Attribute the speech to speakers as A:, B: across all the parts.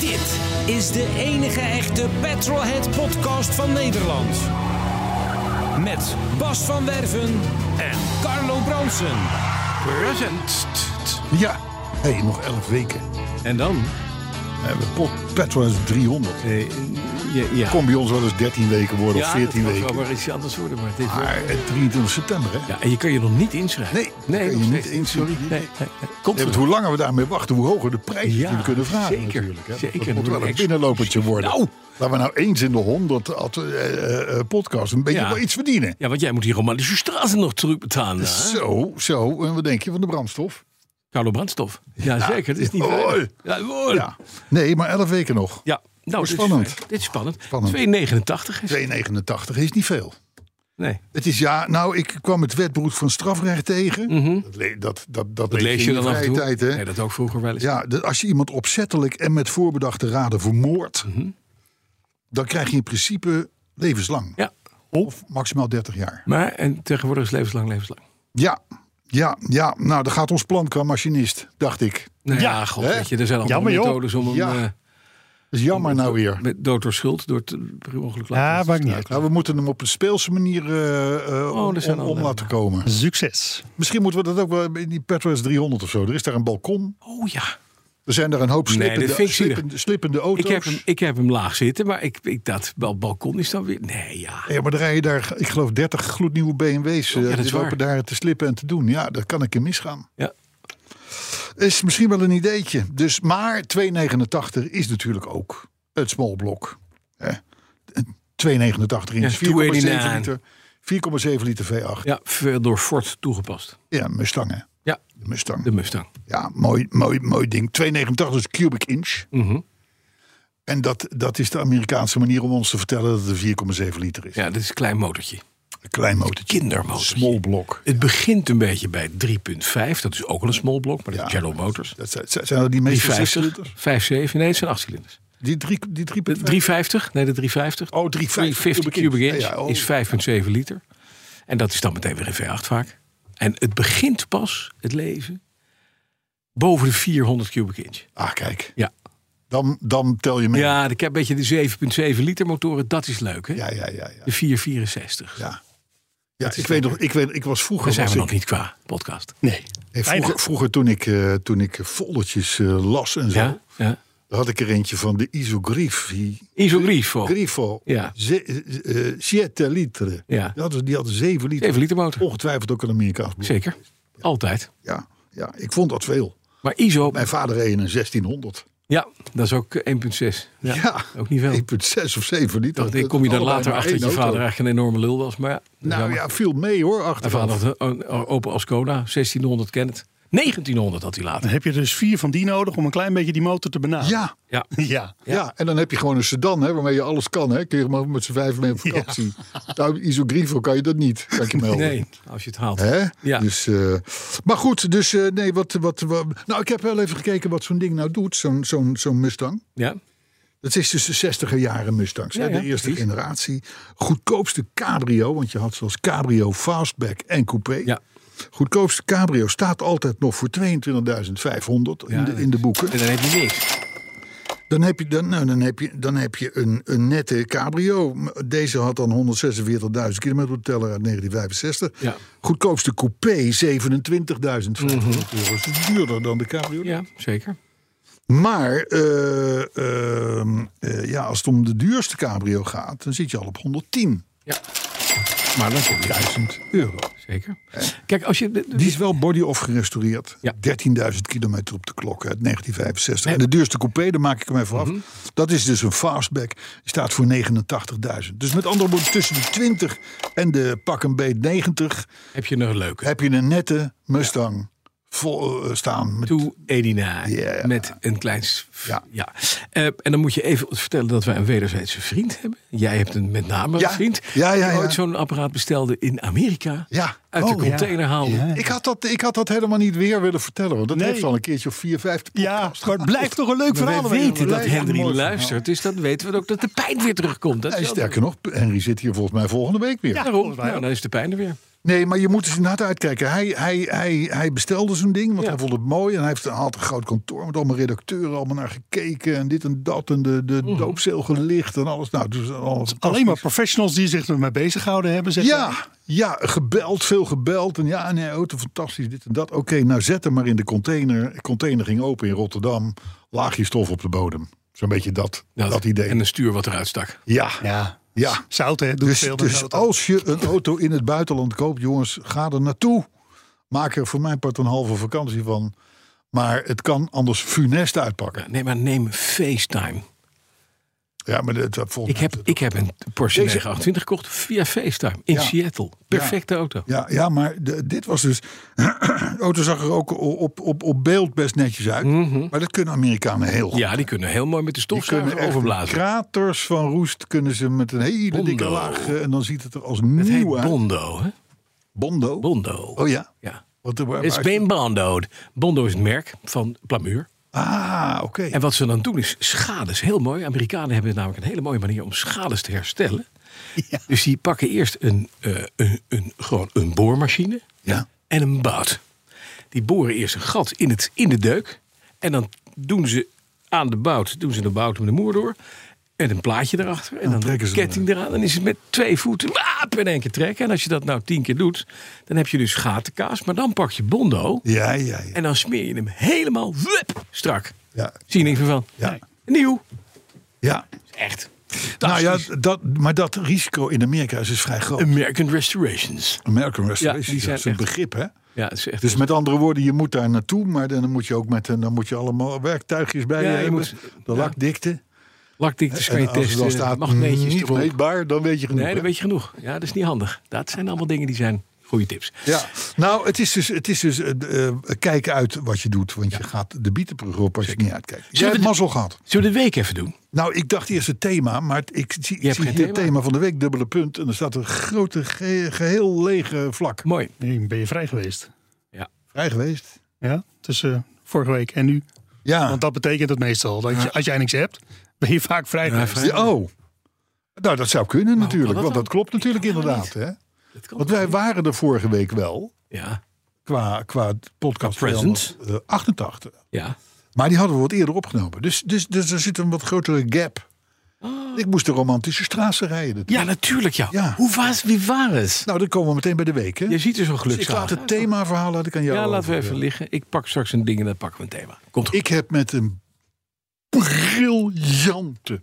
A: Dit is de enige echte Petrolhead podcast van Nederland. Met Bas van Werven en Carlo Bronsen.
B: Present. Ja, hé, hey, nog 11 weken.
C: En dan?
B: We hebben pot Petrol is 300.
C: Nee, Eh, ja, ja.
B: Kon bij ons wel eens 13 weken worden
C: ja,
B: of 14
C: dat kan
B: weken.
C: wel weer iets anders worden, maar dit
B: Maar eh, 23 september, hè?
C: Ja, en je kan je nog niet inschrijven.
B: Nee,
C: nee,
B: kun
C: nog
B: je niet
C: steeds.
B: eens-
C: Sorry.
B: niet-
C: Nee, nee, nee.
B: Nee,
C: Komt er
B: want hoe langer we daarmee wachten, hoe hoger de prijzen
C: Ja,
B: natuurlijk kunnen vragen.
C: zeker,
B: natuurlijk, hè.
C: zeker.
B: Dat moet
C: Door
B: wel een
C: ex-
B: binnenlopertje worden.
C: Nou.
B: Laten we nou eens in de 100 at- eh, eh, podcast een beetje
C: Ja.
B: wel iets verdienen.
C: Ja, want jij moet hier romantische straten nog terugbetalen.
B: Dus-
C: Hè?
B: Zo, zo. En wat denk je van de brandstof?
C: Carlo Brandstof. Ja, zeker. Dat is niet
B: Hoi.
C: weinig. Ja, hoor.
B: Ja. Nee, maar 11 weken nog.
C: Ja, nou, dit is
B: Spannend.
C: fijn. Dit is spannend.
B: Spannend.
C: 2,89 is
B: 2,89 is niet veel.
C: Nee.
B: Het is ja, nou, ik kwam het wetboek van strafrecht tegen. Dat, le- dat, dat, dat,
C: Mhm. Dat
B: lees
C: lees
B: in
C: je dan
B: de
C: af en
B: vrije
C: toe.
B: tijd, hè?
C: Nee, dat ook vroeger wel eens.
B: Ja, de- als je iemand opzettelijk en met voorbedachte raden vermoordt,
C: Mhm.
B: dan krijg je in principe levenslang.
C: Ja.
B: Of maximaal 30 jaar.
C: Maar en tegenwoordig is levenslang, levenslang.
B: Ja, ja, ja. Nou, dan gaat ons plan qua machinist, dacht ik.
C: Nou ja,
D: Ja,
C: god,
B: hè?
C: weet je, er zijn allemaal
D: Jammer, joh.
C: methodes om hem
B: Ja.
C: eh,
B: Dat is
C: Oh,
B: jammer nou weer.
C: met dood door schuld, door het eh, per ongeluk
D: Ja, maakt niet uit.
B: Nou, we moeten hem op een speelse manier eh, eh,
C: Oh, er zijn
B: om,
C: allerlei-
B: om laten komen.
D: Succes.
B: Misschien moeten we dat ook wel in die Petro's 300 of zo. Er is daar een balkon.
C: Oh ja.
B: Er zijn daar een hoop
C: Nee, dat
B: slippende,
C: vind ik zielig.
B: slippende, slippende auto's.
C: Ik heb, hem, ik heb hem laag zitten, maar ik, ik, dat bal- balkon is dan weer... Nee, ja.
B: Ja, maar dan rij je daar, ik geloof, 30 gloednieuwe BMW's. eh,
C: dat is
B: die lopen
C: waar.
B: daar te slippen en te doen. Ja, dat kan een keer misgaan.
C: ja.
B: Is misschien wel een ideetje. Dus, maar 2,89 is natuurlijk ook het small blok. hè. 2,89 inch,
C: Ja,
B: 4,7
C: 2,89.
B: liter, 4,7 liter V8. Ja,
C: ja, veel door Ford toegepast.
B: Mustang hè.
C: Ja,
B: De Mustang.
C: de Mustang.
B: Ja, mooi, mooi, mooi ding. 2,89 is cubic inch. En dat, dat is de Amerikaanse manier om ons te vertellen dat het een 4,7 liter is.
C: Ja, dit is een klein motortje.
B: Een klein motortje.
C: Kindermotortje.
B: Small blok.
C: Het begint een beetje bij 3,5. Dat is ook wel een small block, maar dat is
B: Ja.
C: General Motors.
B: Dat zijn, zijn dat die
C: Die
B: meeste
C: 50,
B: 6-liters?
C: 5, 7, nee, het zijn 8 cilinders.
B: Die drie, die drie,
C: 350, nee de 350.
B: Oh, 350
C: 350 cubic
B: cubic
C: inch
B: inch. Ja, ja, oh.
C: is 5,7 liter. En dat is dan meteen weer een V8 vaak. En het begint pas, het leven, boven de 400 cubic inch.
B: Ah, kijk.
C: Ja,
B: Dan, dan tel je mee.
C: ja ik heb een beetje de 7,7 liter motoren, dat is leuk hè?
B: ja, ja, ja. ja.
C: De 464.
B: ja. Ja, ik weet nog, ik, weet, ik was vroeger.
C: Daar zijn we
B: was
C: nog
B: ik-
C: niet qua podcast.
D: Nee.
B: Nee, vroeger,
D: Eindig.
B: vroeger toen, ik, eh, toen ik foldertjes eh, las en zo,
C: Ja, ja.
B: daar had ik er eentje van de Isogrief. Die
C: Isogrifo.
B: Grifo,
C: Oh. Ja.
B: 7 liter.
C: Ja.
B: Die hadden, die hadden 7 liter.
C: 7 liter
B: Oh.
C: motor.
B: Ongetwijfeld ook een Amerikaans boek.
C: Zeker, altijd.
B: Ja, ja, ik vond dat veel.
C: Maar ISO,
B: Mijn vader reed in een 1600.
C: ja, dat is ook eh, 1,6. Ja, ook niet veel.
B: 1,6 of 7 liter. oh,
C: Dacht, ik kom je daar later achter dat je vader eigenlijk een enorme lul was. Maar ja, dat is
B: Nou
C: jammer.
B: ja, viel mee hoor.
C: Mijn
B: Achteraf.
C: vader had een een open Ascona, 1600 kent. 1900 had hij
D: Dan
C: later.
D: heb je dus vier van die nodig om een klein beetje die motor te benaderen.
B: Ja,
C: Ja.
D: Ja.
B: ja. en dan heb je gewoon een sedan hè, waarmee je alles kan. Hè. Kun je maar met z'n vijf mee op vakantie. Nou, Isogrifo kan je dat niet, kan ik je melden.
C: Nee, als je het haalt.
B: Oh. Hè?
C: Ja.
B: Dus, eh, maar goed, dus eh, nee, wat, wat, wat- Nou, ik heb wel even gekeken wat zo'n ding nou doet, zo'n zo'n zo'n Mustang.
C: Ja.
B: Dat is dus de 60 jaren Mustangs, hè,
C: Ja, ja,
B: de eerste
C: precies.
B: generatie. Goedkoopste cabrio, want je had zoals cabrio, fastback en coupé.
C: Ja.
B: Goedkoopste cabrio staat altijd nog voor 22.500 in, de, in de boeken.
C: En dan heb je niks.
B: Dan heb je, dan, nou, dan heb je, dan heb je een, een nette cabrio. Deze had dan 146.000 kilometer op de teller uit 1965.
C: Ja. Mhm.
B: Goedkoopste coupé 27.000 euro. Dat is duurder dan de cabrio.
C: Ja, zeker.
B: Maar eh, ehm, eh, ja, als het om de duurste cabrio gaat, dan zit je al op 110.000
C: Ja. Maar dan kom je uit.
B: euro.
C: Zeker. Kijk, als je... de- de-
B: Die is wel body-off gerestaureerd.
C: Ja.
B: 13.000 kilometer op de klok uit 1965. En de duurste coupé, daar maak ik hem even af.
C: Mhm.
B: Dat is dus een fastback. Die staat voor 89.000. Dus met andere woorden, tussen de 20 en de pak een beet 90
C: Heb je een leuke.
B: heb je een nette Mustang vol eh, staan. Met,
C: Toe Edina.
B: Ja.
C: Met een klein. s- Ja.
B: Ja.
C: Eh, en dan moet je even vertellen dat wij een wederzijdse vriend hebben. Jij hebt een, met name een
B: Ja.
C: vriend.
B: Ja, ja,
C: die
B: ja.
C: ooit zo'n apparaat bestelde in Amerika.
B: Ja.
C: Uit de
B: Oh, ja.
C: container haalde.
D: Ja.
B: Ik, had dat, ik had dat helemaal niet weer willen vertellen. Want dat
D: Nee.
B: heeft al een keertje of vier, vijf de
D: Ja,
B: podcast
D: maar het blijft toch een leuk
C: Maar
D: verhaal.
C: wij weten dat
B: blijft een
C: Henry
B: mooi verhaal.
C: luistert. Dus dan weten we ook dat de pijn weer terugkomt. Dat
B: Nee,
C: is wel-
B: sterker nog, Henry zit hier volgens mij volgende week weer.
D: Ja.
C: Daarom,
D: volgens mij
C: nou,
D: ook.
C: dan is de pijn er weer.
B: Nee, maar je moet eens inderdaad uitkijken. Hij, hij, hij, hij bestelde zo'n ding, want
C: Ja.
B: hij vond het mooi. En hij heeft, had een groot kantoor met allemaal redacteuren, allemaal naar gekeken. En dit en dat, en de, de doopzeel gelicht en alles. Nou, dus alles
D: Alleen maar professionals die zich ermee bezighouden hebben. Zeg
B: Ja,
D: maar.
B: ja, gebeld, veel gebeld. En ja, nee, auto, fantastisch, dit en dat. Oké, nou zet hem maar in de container. De container ging open in Rotterdam. Laagje stof op de bodem. Zo'n beetje dat, dat, idee.
C: Nou, En een stuur wat eruit stak.
B: ja,
D: Ja.
B: ja.
D: Zout, hè? Doet
B: Dus,
D: veel met
B: dus
D: zout.
B: als je een auto in het buitenland koopt, jongens, ga er naartoe. Maak er voor mijn part een halve vakantie van. Maar het kan anders funest uitpakken.
C: Ja, Nee, maar neem FaceTime.
B: Ja, maar dat, dat volgens
C: Ik heb,
B: mij-
C: ik heb een Porsche
B: Deze-
C: 928 gekocht via FaceTime in
B: Ja.
C: Seattle. Perfecte auto.
B: Ja, ja maar de- dit was dus. de auto zag er ook op, op, op beeld best netjes uit. Maar dat kunnen Amerikanen heel goed.
C: Mhm. Ja, die kunnen heel mooi met de
B: Die kunnen
C: stofzuiger
B: echt
C: overblazen.
B: kraters van roest kunnen ze met een hele dikke
C: Bondo.
B: laag. eh, En dan ziet het er als
C: Het heet
B: nieuw uit.
C: Bondo, hè?
B: Bondo.
C: Bondo.
B: Oh ja.
C: ja.
B: Wat, waar- waar
C: Het is
B: is-
C: geen Bondo. Bondo is het merk van Plamuur.
B: ah, oké.
C: En wat ze dan doen is schades. Heel mooi. Amerikanen hebben namelijk een hele mooie manier om schades te herstellen. Dus die pakken eerst een, eh, een, een, gewoon een boormachine
B: Ja.
C: en een bout. Die boren eerst een gat in, het, in de deuk. En dan doen ze aan de bout, doen ze de bout met de moer door. En een plaatje erachter. En dan,
B: trekken
C: een
B: ze hem
C: ketting eraan. Dan is het met twee voeten waap, in één keer trekken. En als je dat nou tien keer doet, dan heb je dus gatenkaas. Maar dan pak je bondo.
B: Ja, ja, ja.
C: En dan smeer je hem helemaal wup, strak.
B: Ja.
C: Zie je niks meer van.
B: Ja.
C: Nee. Nieuw.
B: ja.
C: Echt.
B: Nou ja,
C: Fantastisch.
B: dat, maar dat risico in Amerika is dus vrij groot.
C: American Restorations.
B: American Restoration
C: Ja, die zijn
B: dat is een
C: echt-
B: begrip, hè?
C: Ja, het is echt
B: Dus met andere woorden, je moet daar naartoe, maar dan moet je ook met een- dan moet je allemaal werktuigjes bij
C: Ja,
B: je
C: je
B: hebben.
C: moet-
B: de
C: ja.
B: lakdikte.
C: lakdiktes kan je
B: en als er dan
C: testen.
B: staat
C: magneetjes
B: niet
C: erop.
B: meetbaar, dan weet je genoeg.
C: Nee,
B: hè?
C: dat weet je genoeg. Ja, dat is niet handig. Dat zijn allemaal dingen die zijn goede tips.
B: Ja, nou, het is dus, het is dus eh, eh, kijk uit wat je doet, want je gaat de bietenbrug op als je niet uitkijkt. Jij
C: Zullen we
B: hebt
C: de-
B: mazzel gehad.
C: Zullen we de week even doen?
B: Nou, ik dacht eerst het thema, maar het- ik zie, ik
C: hebt
B: zie
C: geen
B: hier het
C: thema.
B: thema van de week, dubbele punt, en er staat een grote, ge- geheel lege vlak.
C: Mooi.
D: Nee, ben je vrij geweest?
B: Vrij geweest.
D: Ja, tussen eh, vorige week en nu.
B: Ja.
D: Want dat betekent het meestal. Dat je, als jij niks hebt, ben je vaak vrij
C: Ja,
D: geweest.
C: vrij.
B: Ja, oh. Nou, dat zou kunnen
C: Maar hoe
B: natuurlijk,
C: kan dat
B: want dat
C: dan?
B: klopt natuurlijk
C: Ik kan dat
B: inderdaad. Hè?
C: Dat kan
B: Want
C: toch
B: wij
C: niet?
B: waren er vorige week wel,
C: Ja,
B: qua, qua podcast
C: Qua present.
B: 88.
C: ja.
B: Maar die hadden we wat eerder opgenomen. Dus, dus, dus er zit een wat grotere gap. Ik moest de romantische straatse rijden.
C: Oh. ja natuurlijk. Ja.
B: Ja.
C: Hoe was, wie waren het?
B: Nou, dan komen we meteen bij de week. Hè?
C: Je ziet er zo'n
B: Dus ik
C: gelukzalig
B: laat het
C: uit.
B: themaverhaal laat ik aan jou
C: Ja, laten we
B: over. eh.
C: even liggen. Ik pak straks een ding en dan pakken we een thema. Komt goed.
B: Ik heb met een briljante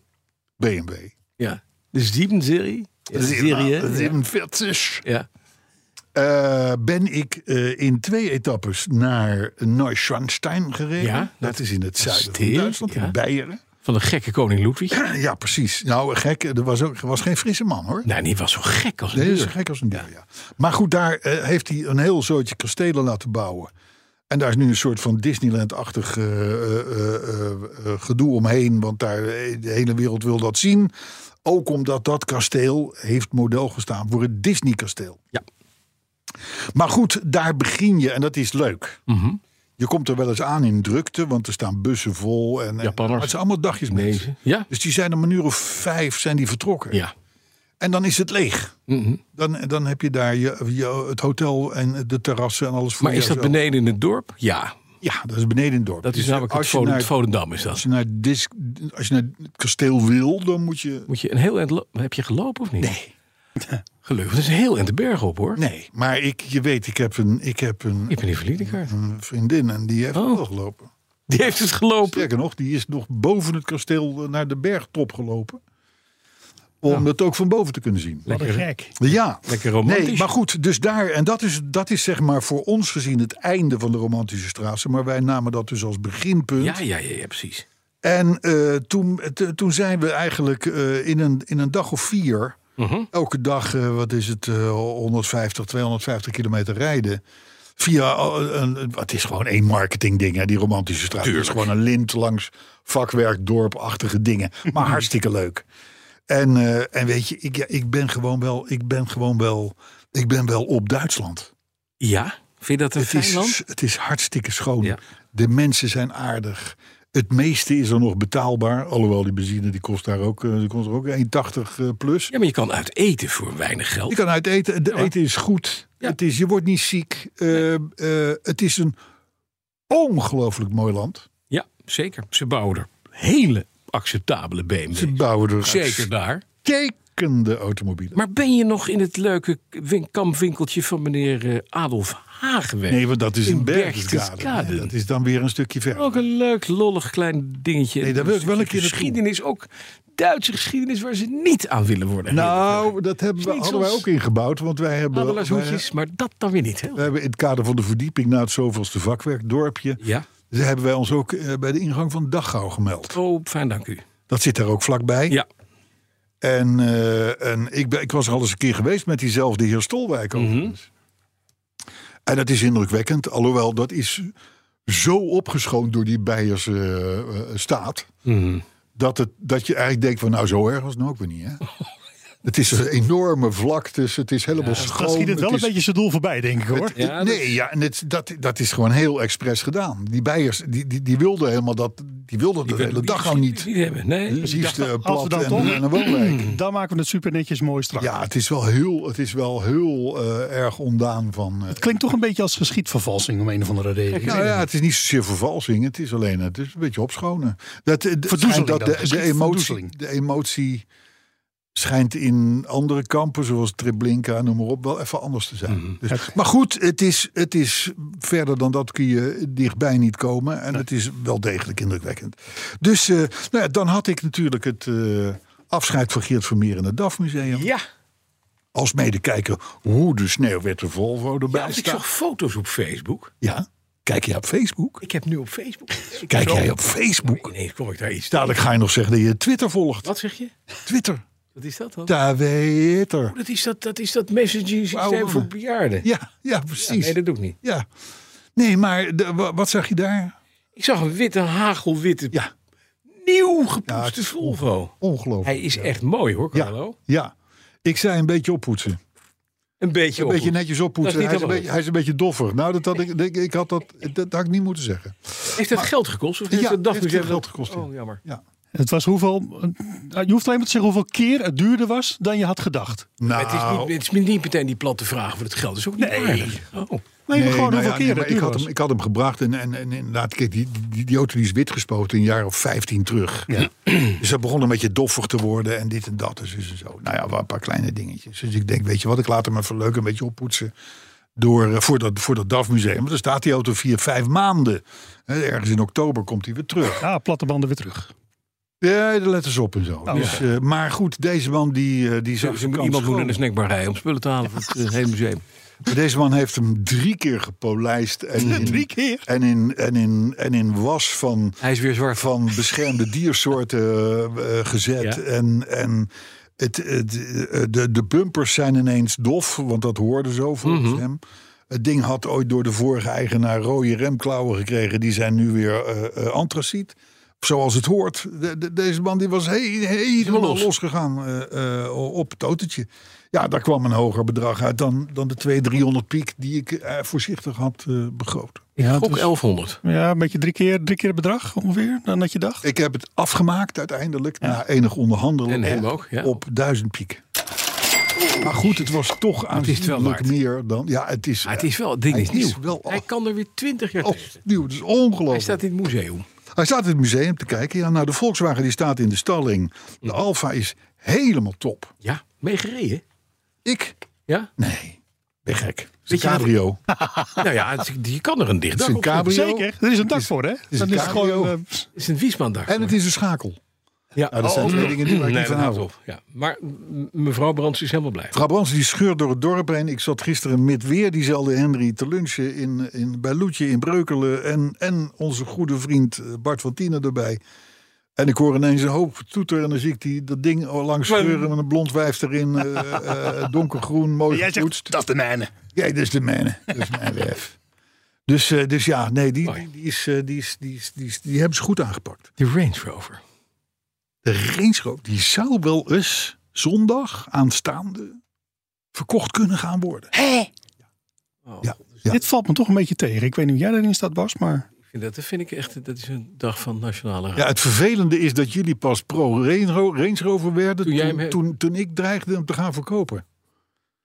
B: BMW.
C: Ja. De zevende serie. Ja, serie, hè?
B: 47.
C: Ja.
B: Eh, ben ik eh, in twee etappes naar Neuschwanstein gereden.
C: Ja,
B: dat is in het zuiden van
C: stil,
B: Duitsland,
C: ja.
B: in Beieren.
C: Van de gekke koning Ludwig.
B: Ja, precies. Nou, gek, er was, ook, er was geen frisse man hoor.
C: Nou, die was zo gek als een
B: Nee, dat is
C: deur.
B: gek als een deur, ja. Maar goed, daar eh, heeft hij een heel soortje kastelen laten bouwen. En daar is nu een soort van Disneyland-achtig eh, eh, eh, eh, gedoe omheen. Want daar, eh, de hele wereld wil dat zien. Ook omdat dat kasteel heeft model gestaan voor het Disney-kasteel.
C: Ja.
B: Maar goed, daar begin je en dat is leuk.
C: Mhm.
B: Je komt er wel eens aan in drukte, want er staan bussen vol. En, en-
C: Japanners.
B: maar het zijn allemaal dagjes mensen.
C: Ja.
B: Dus die zijn om een uur of vijf zijn die vertrokken.
C: Ja.
B: En dan is het leeg.
C: Mhm.
B: Dan, dan heb je daar je, je- het hotel en de terrassen en alles voor
C: Maar is dat
B: jezelf.
C: beneden in het dorp? Ja.
B: Ja, dat is beneden in het dorp.
C: Dat is
B: Dus
C: namelijk het
B: als je
C: Volend-
B: naar,
C: Volendam is
B: als
C: dat.
B: je naar dis- Als je naar het kasteel wil, dan moet je...
C: Moet je een heel eind lo- Heb je gelopen of niet? Nee. Gelukkig. Dat is een heel eind de berg op hoor.
B: Nee, maar ik, je weet, ik heb een, ik heb een,
C: Ik ben niet verliedenkaart.
B: een vriendin en die heeft
C: Oh.
B: wel gelopen.
C: Die heeft het gelopen.
B: Sterker nog, die is nog boven het kasteel eh, naar de bergtop gelopen. Om het ook van boven te kunnen zien.
D: Wat een gek.
B: Ja.
C: Lekker romantisch.
B: Nee, maar goed, dus daar, en dat is, dat is zeg maar voor ons gezien het einde van de romantische straatse. Maar wij namen dat dus als beginpunt.
C: Ja, ja, ja, ja, precies.
B: En eh, toen, t- toen zijn we eigenlijk eh, in, een, in een dag of vier, elke dag, eh, wat is het, eh, 150, 250 kilometer rijden, via een, een- het is gewoon één marketingding, hè, die romantische straat. Het is gewoon een lint langs vakwerk, dorpachtige dingen. Maar hartstikke leuk. En, eh, en weet je, ik, ja, ik ben gewoon wel, ik ben gewoon wel, ik ben wel op Duitsland.
C: Ja, vind je dat een
B: Het
C: fijn land?
B: is, het is hartstikke schoon.
C: Ja.
B: De mensen zijn aardig. Het meeste is er nog betaalbaar. Alhoewel die benzine die kost daar ook, eh, die kost er ook 1,80 eh, plus.
C: Ja, maar je kan uit eten voor weinig geld.
B: Je kan uit eten. De
C: maar-
B: eten is goed.
C: Ja.
B: Het is, je wordt niet ziek. Eh, eh, het is een ongelooflijk mooi land.
C: Ja, zeker. Ze bouwen er hele acceptabele BMW's.
B: Ze bouwen er
C: Zeker daar.
B: uitstekende automobielen.
C: Maar ben je nog in het leuke win- kampwinkeltje van meneer eh, Adolf Hagenweg?
B: nee, want dat is
C: in
B: een bergskade.
C: Berchtesgaden.
B: Nee, dat is dan weer een stukje verder.
C: Ook een leuk, lollig klein dingetje.
B: Nee, daar wil ik wel een keer naartoe.
C: Geschiedenis, ook Duitse geschiedenis waar ze niet aan willen worden.
B: Nou, dat hebben we, hadden wij
C: Schnitzels.
B: ook ingebouwd. Want wij hebben, wij,
C: Adelaarhoedjes, maar dat dan weer niet. Hè?
B: wij hebben in het kader van de verdieping na het zoveelste vakwerkdorpje...
C: Ja.
B: Daar hebben wij ons ook eh, bij de ingang van Dachau gemeld.
C: Oh, fijn, dank u.
B: Dat zit daar ook vlakbij.
C: Ja,
B: En, eh, en ik, ben, ik was er al eens een keer geweest met diezelfde heer Stolwijk. overigens. En dat is indrukwekkend. Alhoewel, dat is zo opgeschoond door die Beierse eh, eh, staat. Dat, het, dat je eigenlijk denkt van nou zo erg was het nou ook weer niet. Hè? Het is een enorme vlaktes. Het is helemaal schoon.
D: Dat schiet het wel
B: is-
D: een beetje zijn doel voorbij, denk ik hoor.
C: Ja, dat-
B: nee, ja, en het, dat, dat is gewoon heel expres gedaan. Die Beiers, die, die, die wilden helemaal dat, die wilden dat de hele dag al niet.
C: Niet hebben, nee.
B: Het liefst
D: dachten,
B: eh,
D: als we
B: plat
D: dan
B: en,
D: toch-
B: en een woonwijk.
D: Dan maken we het super netjes mooi strak.
B: Ja, het is wel heel, het is wel heel eh, erg ondaan van. eh,
D: Het klinkt toch een beetje als geschiedvervalsing om een of andere reden.
B: nou ja, het is niet zozeer vervalsing. Het is alleen het is een beetje opschonen. Dat, eh, d-
D: Verdoezeling
B: schijnt dat
D: dan,
B: de, de,
D: geschikt
B: emotie,
D: verdoezeling.
B: de emotie schijnt in andere kampen, zoals Treblinka, noem maar op, wel even anders te zijn. Dus- maar goed, het is, het is verder dan dat kun je dichtbij niet komen. En het is wel degelijk indrukwekkend. Dus eh, nou ja, dan had ik natuurlijk het eh, afscheid van Geert Vermeer in het DAF Museum.
C: Ja,
B: als mede kijken hoe de sneeuwwitte Volvo
C: ja,
B: erbij
C: want ik
B: staat.
C: zag foto's op Facebook.
B: Ja, kijk jij op Facebook?
C: Ik heb nu op Facebook.
B: Kijk jij op Facebook?
C: Ineens kom ik daar iets tegen.
B: Dadelijk ga je nog zeggen dat je Twitter volgt.
C: Wat zeg je?
B: Twitter.
C: Wat is dat dan?
B: Twitter.
C: Oh, Dat is dat, dat, is dat messaging systeem
B: Oude
C: voor
B: man.
C: bejaarden.
B: Ja, ja,
C: Ja, nee,
B: precies.
C: dat doe ik niet.
B: Ja. Nee, maar de- wa- wat zag je daar?
C: Ik zag een witte, hagelwitte,
B: Ja,
C: nieuw
B: Ja, het
C: gepoetste
B: is
C: Volvo.
B: ongelooflijk.
C: Hij is echt mooi hoor,
B: Ja,
C: Carlo.
B: ja. Ik zei een beetje oppoetsen. Een
C: Een beetje op.
B: beetje netjes oppoetsen.
C: Dat is
B: Hij
C: niet
B: is, een
C: allemaal.
B: beetje, hij is een beetje doffer. Nou, dat had ik, ik, ik had dat, dat had ik niet moeten zeggen.
C: Heeft dat geld gekost? Of heeft
B: Ja,
C: dat dacht
B: heeft
C: ik
B: het
C: dat-
B: geld gekost, ja.
C: Oh, jammer.
D: Het was hoeveel. eh, Je hoeft alleen maar te zeggen hoeveel keer het duurder was dan je had gedacht.
B: Nou,
C: Het, is niet, het is niet meteen die platte vraag voor het geld. Dat is ook niet
D: Nee.
C: aardig. Oh.
D: Nee, maar gewoon
B: nou
D: hoeveel
B: ja,
D: keer
B: maar
D: het
B: ik,
D: duurder
B: had
D: was.
B: hem, ik had hem gebracht en, en, en inderdaad, kijk, die, die, die auto die is wit gespoten een jaar of 15 terug. Dus dat begon een beetje doffig te worden en dit en dat. Dus, dus en zo. Nou ja, wel een paar kleine dingetjes. Dus ik denk, weet je wat, ik laat hem even leuk een beetje oppoetsen. Door, eh, voor, dat, voor dat DAF-museum. Want dan staat die auto vier, vijf maanden. Hè, ergens in oktober komt hij weer terug.
D: Ah, platte banden weer terug.
B: Ja, de letters op en zo. dus, eh, maar goed, deze man die, eh, die
C: Zo,
B: zag
C: Oh, ze
B: zijn
C: moet-
B: kans
C: iemand moet
B: schoon.
C: naar de snackbar rijden om spullen te halen voor het eh, hele museum.
B: Maar Deze man heeft hem drie keer gepolijst. En in,
D: Drie keer?
B: En in, en in, en in was van...
C: Hij is weer zwart.
B: van beschermde diersoorten eh, eh, gezet.
C: Ja.
B: En, en het, het, eh, de, de bumpers zijn ineens dof, want dat hoorde zo volgens hem. Het ding had ooit door de vorige eigenaar rode remklauwen gekregen. Die zijn nu weer eh, eh, antraciet. Zoals het hoort. De- de- deze man die was he- helemaal
C: los.
B: los. gegaan eh, eh, op het autootje. Ja, daar kwam een hoger bedrag uit dan, dan de 200, 300 piek die ik eh, voorzichtig had eh begroot.
D: Ja,
C: Ook 1100.
D: ja, een beetje drie keer, drie keer het bedrag ongeveer dan dat je dacht.
B: Ik heb het afgemaakt uiteindelijk na enig onderhandelen
C: En hem
B: op,
C: ook, ja.
B: op duizend piek. Maar goed, het was toch
C: is het wel
B: aanzienlijk
C: waard.
B: meer dan. Ja, het is.
C: Maar het is wel, het ding
B: Hij
C: is nieuw.
B: is wel Oh.
C: hij
B: af-
C: kan er weer 20 jaar tegen.
B: opnieuw, het is
C: Hij
B: ongelooflijk.
C: staat in het museum.
B: Hij staat in het museum te kijken. Ja, nou, de Volkswagen die staat in de stalling. De Alfa is helemaal top.
C: Ja, meegereden.
B: Ik?
C: Ja?
B: Nee, ben gek. Het is
C: Weet je
B: een
C: wat-
B: cabrio. Het
C: nou ja, het, is- je kan er een dicht
B: is
C: dak
B: een
C: op zetten.
B: cabrio.
D: Zeker, er is een dak voor hè.
B: is
D: dan
B: een
D: is het gewoon.
B: cabrio.
D: eh, pss,
C: Het is een Wiesmandag.
B: En het is een schakel.
C: Ja, Oh.
B: Nou, dat zijn twee dingen die waar ik
C: Nee,
B: niet van
C: dat
B: hou.
C: houdt op. Ja. Maar m- mevrouw Brands is helemaal blij.
B: Mevrouw Brands die scheurt door het dorp heen. Ik zat gisteren met weer diezelfde Henry te lunchen in, in, bij Loetje in Breukelen. En, en onze goede vriend eh, Bart van Tienen erbij. En ik hoor ineens een hoop toeter en dan zie ik die, dat ding al langs scheuren met een blond wijf erin. eh, eh, donkergroen, mooi
D: Jij
B: gepoetst.
D: zegt, dat is de mijne.
B: Ja, dat is de mijne. Dat is mijn wijf. Dus, eh, dus ja, nee, die,
C: Mooi.
B: die, die is, eh, die, is, die, is, die, is- die hebben ze goed aangepakt.
C: De Range Rover.
B: De Range Rover, die zou wel eens zondag aanstaande verkocht kunnen gaan worden.
C: Oh,
B: Ja. Ja.
D: Dit valt me toch een beetje tegen. Ik weet niet hoe jij daarin staat, Bas, maar...
C: Ik vind dat, dat vind ik echt dat is een dag van nationale
B: Ja, het vervelende is dat jullie pas pro Range Ro- Range Rover werden
C: Toen
B: toen,
C: jij
B: toen,
C: hem-
B: toen, ik dreigde hem te gaan verkopen.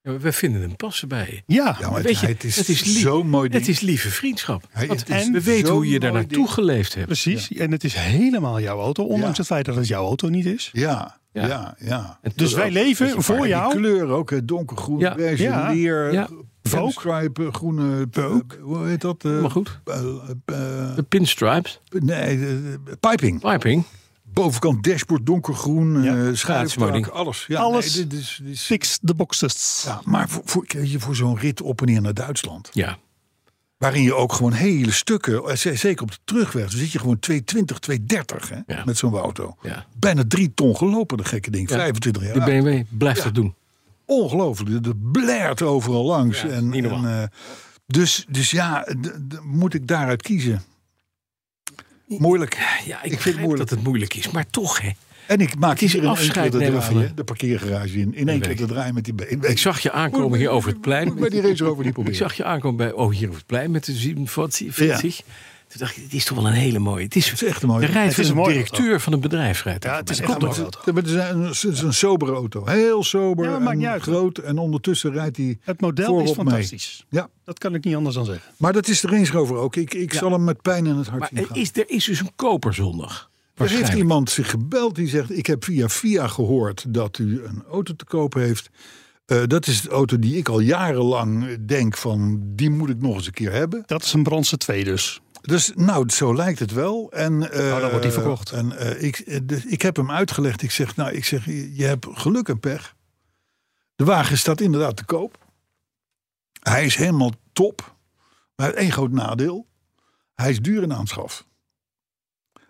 C: Ja, we vinden hem passen bij je.
D: Ja,
B: Ja, maar
C: Weet je,
B: het, is
C: het is lief.
B: zo'n mooi ding.
C: Het is lieve vriendschap.
B: Hij-
C: Want
B: het is
C: we weten
B: zo'n
C: hoe je daar
B: mooi Dus-
C: naartoe
B: ding.
C: geleefd hebt.
D: precies. En het is helemaal jouw auto, ondanks
B: Ja.
D: het feit dat het jouw auto niet is.
B: Ja,
C: Ja.
B: ja, ja.
C: En
D: Dus
C: toen
D: wij
C: ook-
D: leven
C: dat je
D: voor
B: En die
D: jou.
B: kleur ook, hè, donkergroen,
C: Ja.
B: beige,
D: Ja.
B: leer,
C: Ja.
D: Ook.
B: stripen, groene...
D: Ook.
B: eh, Hoe heet dat? eh,
C: Maar goed,
B: eh, eh,
C: de pinstripes,
B: nee, eh, piping.
C: piping.
B: Bovenkant dashboord donkergroen,
D: Ja.
B: eh
C: Schaatsmoding.
B: schuifdak, alles. Ja,
D: Alles.
B: nee, dit is- dit is-
D: Fix the boxes.
B: ja, maar voor, voor, weet je, voor zo'n rit op en neer naar Duitsland...
C: Ja,
B: Waarin je ook gewoon hele stukken, eh, z- zeker op de terugweg, dan zit je gewoon 220, 230 hè,
C: Ja.
B: met zo'n auto.
C: ja.
B: Bijna drie ton gelopen, de gekke ding.
C: Ja.
B: 25 jaar.
C: De BMW blijft dat doen.
B: Ongelooflijk. Dat blaart overal langs.
C: Ja,
B: en,
C: niet normaal.
B: en, eh, dus, dus ja, d- d- moet ik daaruit kiezen? Moeilijk.
C: Ja,
B: vind
C: ik,
B: het
C: begrijp
B: moeilijk.
C: dat het moeilijk is, maar toch hè.
B: En ik maak
C: is
B: hier in één keer
C: afscheid
B: de
C: nemen
B: draai,
C: van
B: hè,
C: de-
B: de parkeergarage in. In één
C: weet
B: keer de draai met die BMW.
C: Ik zag je aankomen hier over het plein.
B: Moet ik bij die Range Rover niet
C: Ik
B: proberen.
C: zag je aankomen bij, oh, hier op het plein met de 47.
B: Ja.
C: Toen dacht ik, dit is toch wel een hele mooie. Het is,
B: Het is echt een mooie.
C: Er rijdt
D: Het is
C: een,
D: een mooie
C: directeur van een bedrijf. Rijdt
D: Ja,
C: er
D: het is
C: voorbij.
D: echt een
C: Komt
D: mooie
C: toch?
D: auto.
B: Ja, maar het is een, het is een sobere auto. Heel sober
D: Ja, maar maakt niet
B: en
D: uit.
B: groot. En ondertussen rijdt hij
D: Het model
B: voorop
D: is
B: mee.
D: fantastisch.
B: Ja,
D: Dat kan ik niet anders dan zeggen.
B: maar dat is de Range Rover ook. Ik, ik zal hem met pijn in het hart
C: Maar
B: zien
C: er
B: gaan.
C: is, er is dus een koper zondag.
B: Er heeft
C: Waarschijnlijk.
B: iemand zich gebeld die zegt: Ik heb via via gehoord dat u een auto te koop heeft. Eh, dat is de auto die ik al jarenlang eh, denk van die moet ik nog eens een keer hebben.
D: Dat is een bronzen 2 dus.
B: Dus nou, zo lijkt het wel. En, eh,
D: Oh, dan wordt die verkocht.
B: En eh, ik, eh, dus ik heb hem uitgelegd. Ik zeg, nou, ik zeg, je je hebt geluk en pech. De wagen staat inderdaad te koop. Hij is helemaal top. Maar één groot nadeel. Hij is duur in aanschaf.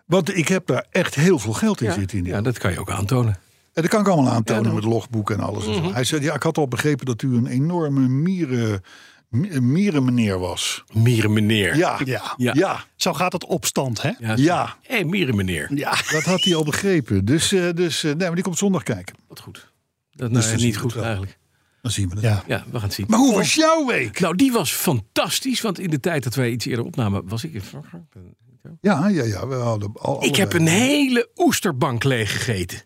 B: Want ik heb daar echt heel veel geld in zitten. In die
C: Ja, dat kan je ook aantonen.
B: en dat kan ik allemaal aantonen
C: Ja, dan-
B: met logboek en alles. en zo.
D: Mhm.
B: Hij zei, ja, ik had al begrepen dat u een enorme mieren, mi- mierenmeneer was.
C: Mierenmeneer.
B: Ja,
D: Ah, Ja.
B: ja, ja,
D: Zo gaat het opstand, hè?
C: Ja.
B: ja.
C: Hé, mierenmeneer.
D: Ja.
B: Dat had hij al begrepen. Dus, eh, dus eh, nee, maar die komt zondag kijken.
C: Wat goed. Dat nou,
B: dat
C: is
B: is
C: niet
B: goed
C: goed
B: wel.
C: eigenlijk.
B: Dan zien we het.
D: Ja.
C: Ja, we gaan het zien.
B: Maar hoe was jouw week?
C: Nou, die was fantastisch. Want in de tijd dat wij iets eerder opnamen, was ik in Frankrijk.
B: Ja, ja, ja. We hadden al,
C: Ik heb een
B: allebei-
C: hele oesterbank leeggegeten.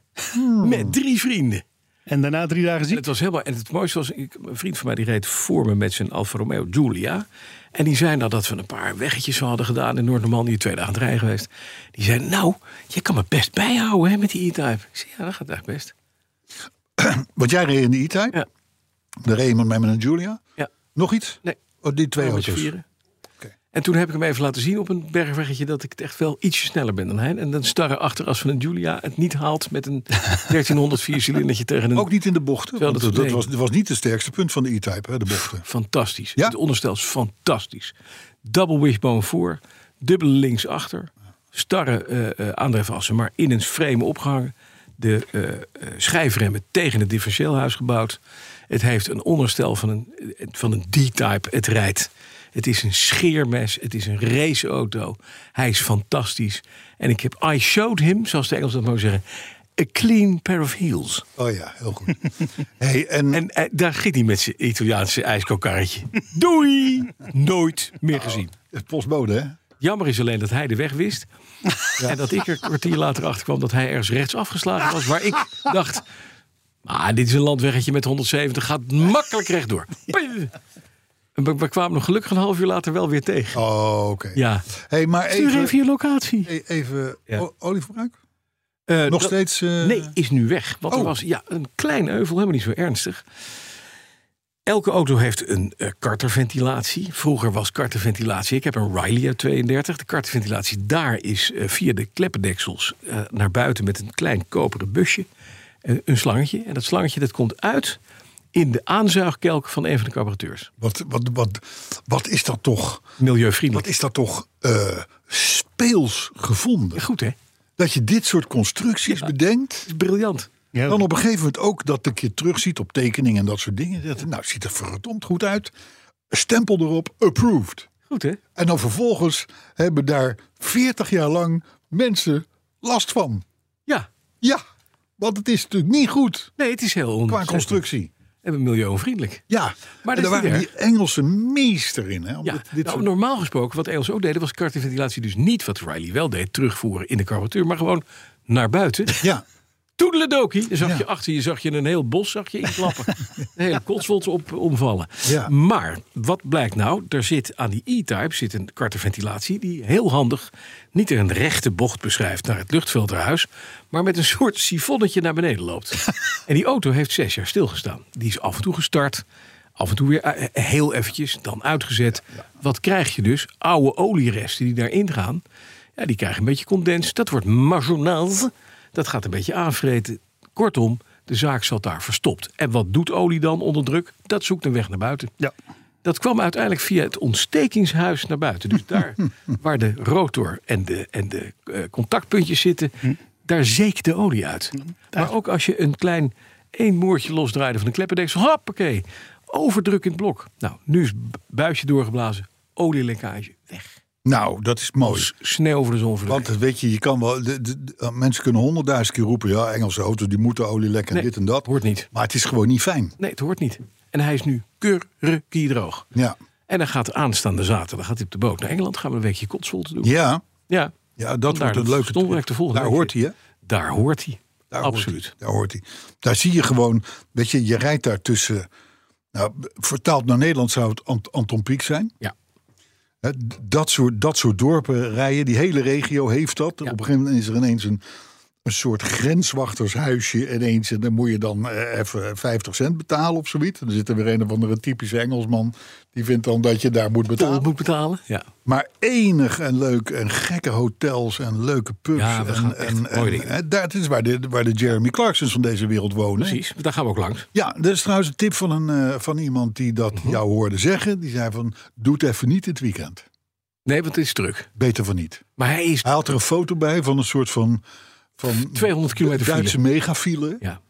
C: Met drie vrienden.
D: En daarna drie dagen
C: En
D: ziek.
C: het, was helemaal, en het mooiste was, ik, een vriend van mij die reed voor me met zijn Alfa Romeo Giulia. En die zei nou dat we een paar weggetjes hadden gedaan in Noord-Normandië, twee dagen aan het rijden geweest. Die zei, nou, je kan me best bijhouden hè, met die E-Type. Ik zei, ja, dat gaat eigenlijk best.
B: Want jij reed in de E-Type.
C: Ja.
B: Daar reed iemand met me en Julia.
C: Ja.
B: Nog iets?
C: Nee.
B: Oh, die twee
C: Twee met z'n
B: auto's.
C: vieren.
B: Oké.
C: En toen heb ik hem even laten zien op een bergweggetje dat ik het echt wel ietsje sneller ben dan hij. En dan starre achteras van een Giulia het niet haalt met een 1304 cilindertje tegen een...
B: Ook niet in de bochten.
C: Terwijl
B: want
C: dat
B: Dat, dat
C: nee.
B: was, dat was niet het sterkste punt van de E-Type, hè, de bochten.
C: Fantastisch.
B: Ja?
C: Het onderstel is fantastisch. Double wishbone voor, dubbele links achter, starre eh eh, aandrijfassen, maar in een frame opgehangen. De eh, eh, schijfremmen tegen het differentieelhuis gebouwd. Het heeft een onderstel van een, eh, van een D-type. Het rijdt. Het is een scheermes. Het is een raceauto. Hij is fantastisch. En ik heb, I showed him, zoals de Engelsen dat mogen zeggen, a clean pair of heels.
B: Oh ja, heel goed. hey, en,
C: En eh, daar giet hij met zijn Italiaanse ijskokarretje. Doei! Nooit meer gezien.
B: Oh, het postbode, hè?
C: Jammer is alleen dat hij de weg wist. En dat ik er een kwartier later achter kwam dat hij ergens rechts afgeslagen was. Waar ik dacht, ah, dit is een landweggetje met 170, gaat makkelijk rechtdoor. Puh. En we, we kwamen nog gelukkig een half uur later wel weer tegen.
B: Oh, oké.
C: Ja.
B: Hey, maar
C: Stuur
B: even,
C: even je locatie.
B: e- even
C: Ja.
B: o- olieverbruik?
C: Eh,
B: Nog
C: dat-
B: steeds? eh,
C: Nee, is nu weg. Wat er
B: Oh.
C: was, ja, een klein euvel, helemaal niet zo ernstig. Elke auto heeft een eh, karterventilatie. Vroeger was karterventilatie. Ik heb een Riley uit 32. De karterventilatie daar is eh, via de kleppendeksels eh, naar buiten met een klein koperen busje. eh, een slangetje. En dat slangetje dat komt uit in de aanzuigkelk van een van de carburateurs.
B: Wat, wat, wat, wat is dat toch?
C: Milieuvriendelijk.
B: Wat is dat toch eh, speels gevonden?
C: Goed hè?
B: Dat je dit soort constructies bedenkt.
C: Dat is briljant.
D: Ja,
B: Dan op een gegeven moment ook dat ik je terugziet op tekeningen en dat soort dingen. Dat, nou, ziet er verdomd goed uit. Stempel erop, approved.
C: Goed hè?
B: En dan vervolgens hebben daar 40 jaar lang mensen last van.
C: Ja.
B: Ja, want het is natuurlijk niet goed
C: Nee, het is heel
B: qua
C: ontzettend.
B: constructie.
C: En milieuvriendelijk.
B: Ja,
C: Maar
B: en
C: dat
B: daar waren
C: is niet erg.
B: die Engelse meester in. Hè, om
C: Ja,
B: dit, dit
C: nou,
B: soort-
C: normaal gesproken, wat Engels ook deden, was kartenventilatie dus niet wat Riley wel deed, terugvoeren in de carburateur, maar gewoon naar buiten.
B: ja,
C: Toedeledokie. Dan zag
B: Ja.
C: je achter je, zag je een heel bos zag je inklappen. een hele kotswold op omvallen.
B: Ja.
C: Maar wat blijkt nou? Er zit aan die E-type zit een karterventilatie die heel handig niet een rechte bocht beschrijft naar het luchtfilterhuis, maar met een soort sifonnetje naar beneden loopt. en die auto heeft zes jaar stilgestaan. Die is af en toe gestart. Af en toe weer eh, heel eventjes, dan uitgezet. Wat krijg je dus? Oude olieresten die daarin gaan. Ja, die krijgen een beetje condens. Dat wordt marginage. Dat gaat een beetje aanvreten. Kortom, de zaak zat daar verstopt. En wat doet olie dan onder druk? Dat zoekt een weg naar buiten.
D: Ja.
C: Dat kwam uiteindelijk via het ontstekingshuis naar buiten. Dus daar waar de rotor en de, en de eh, contactpuntjes zitten, daar zeek de olie uit. Maar ook als je een klein één moertje losdraaide van de kleppendeksel, hoppakee, overdruk in het blok. Nou, nu is bu- buisje doorgeblazen, olielekkage, weg.
B: nou, dat is mooi.
C: S- Sneeuw voor de zon verdwenen.
B: Want weet je, je kan wel, de, de- de- mensen kunnen honderdduizend keer roepen... ja, Engelse auto's die moeten olie lekken en
C: Nee,
B: dit en dat.
C: hoort niet.
B: Maar het is gewoon niet fijn.
C: Nee, het hoort niet. En hij is nu keurkiedroog.
B: Ja,
C: En dan gaat aanstaande zaterdag gaat hij op de boot naar Engeland. Gaan we een weekje kotsvolte doen.
B: ja,
C: Ja,
B: ja dat
C: Vandaar
B: wordt een
C: dat
B: leuke...
C: Stolwerk de volgende
B: daar
C: week
B: hoort hij,
C: weer.
B: hè?
C: daar hoort hij.
B: Daar
C: Absoluut.
B: Hoort hij, daar hoort hij. Daar zie je gewoon, weet je, je rijdt daar tussen... Nou, vertaald naar Nederland zou het Ant- Anton Pieck zijn.
C: Ja.
B: Hè, d- dat, soort, dat soort dorpen rijden, die hele regio heeft dat. Op een gegeven moment is er ineens een, een soort grenswachtershuisje ineens. En dan moet je dan eh, even 50 cent betalen of zoiets. En Dan zit er weer een of andere typische Engelsman. Die vindt dan dat je daar moet
C: Tol
B: betalen.
C: moet betalen. Ja.
B: Maar enig en leuk en gekke hotels en leuke pubs.
C: Ja, we
B: en,
C: gaan echt
B: en,
C: mooie
B: en-
C: dingen doen.
B: hè, daar, het is waar de, waar de Jeremy Clarksons van deze wereld wonen.
C: Precies. Daar gaan we ook langs.
B: Ja, dat is trouwens een tip van, een, eh, van iemand die dat
C: Mhm.
B: jou hoorde zeggen. Die zei van, doe het even niet dit weekend.
C: Nee, want het is druk.
B: Beter van niet.
C: Maar hij is
B: Hij had er een foto bij van een soort van... van
C: 200 kilometer
B: Duitse
C: file.
B: megafile.
C: Ja.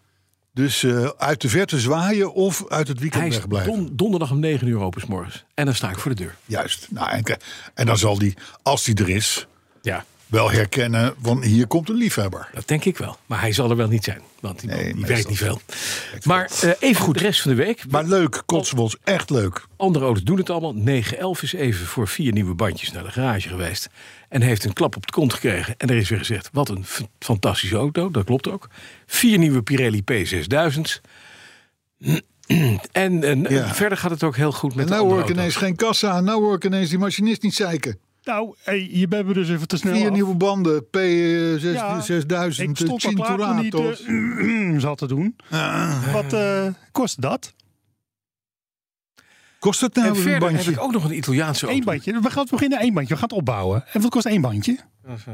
B: Dus eh, uit de verte zwaaien of uit het weekend
C: Hij is
B: wegblijven.
C: don- donderdag om 9 uur open 's morgens. En dan sta ik voor de deur.
B: Juist. Nou, en, k- en dan zal die, als die er is,
C: Ja.
B: wel herkennen van hier komt een liefhebber.
C: Dat denk ik wel. Maar hij zal er wel niet zijn. Want die, man,
B: Nee,
C: die
B: meestal
C: werkt niet veel. Maar eh, even goed de rest van de week.
B: Maar leuk, Cotswolds, echt leuk.
C: Andere auto's doen het allemaal. 911 is even voor vier nieuwe bandjes naar de garage geweest. En heeft een klap op de kont gekregen. En er is weer gezegd, wat een f- fantastische auto. Dat klopt ook. Vier nieuwe Pirelli P6000's. En, en, en
B: Ja.
C: verder gaat het ook heel goed met
B: En
C: de
B: nou
C: andere
B: hoor ik ineens
C: auto's.
B: geen kassa. Nou hoor ik ineens die machinist niet zeiken.
D: Nou, hey, je bent me dus even te snel
B: Vier
D: af.
B: nieuwe banden, eh,
D: Ja,
B: P6000,
D: Ik stond al klaar toen niet
B: eh, Cinturatos.
C: eh.
D: zat eh, te doen. Wat eh, kost dat?
B: Kost het nou
C: En
B: weer een
C: verder heb
B: bandje?
C: ik ook nog een Italiaanse auto.
D: Eén bandje. We gaan het beginnen één bandje. We gaan het opbouwen. En wat kost één bandje? Vijf-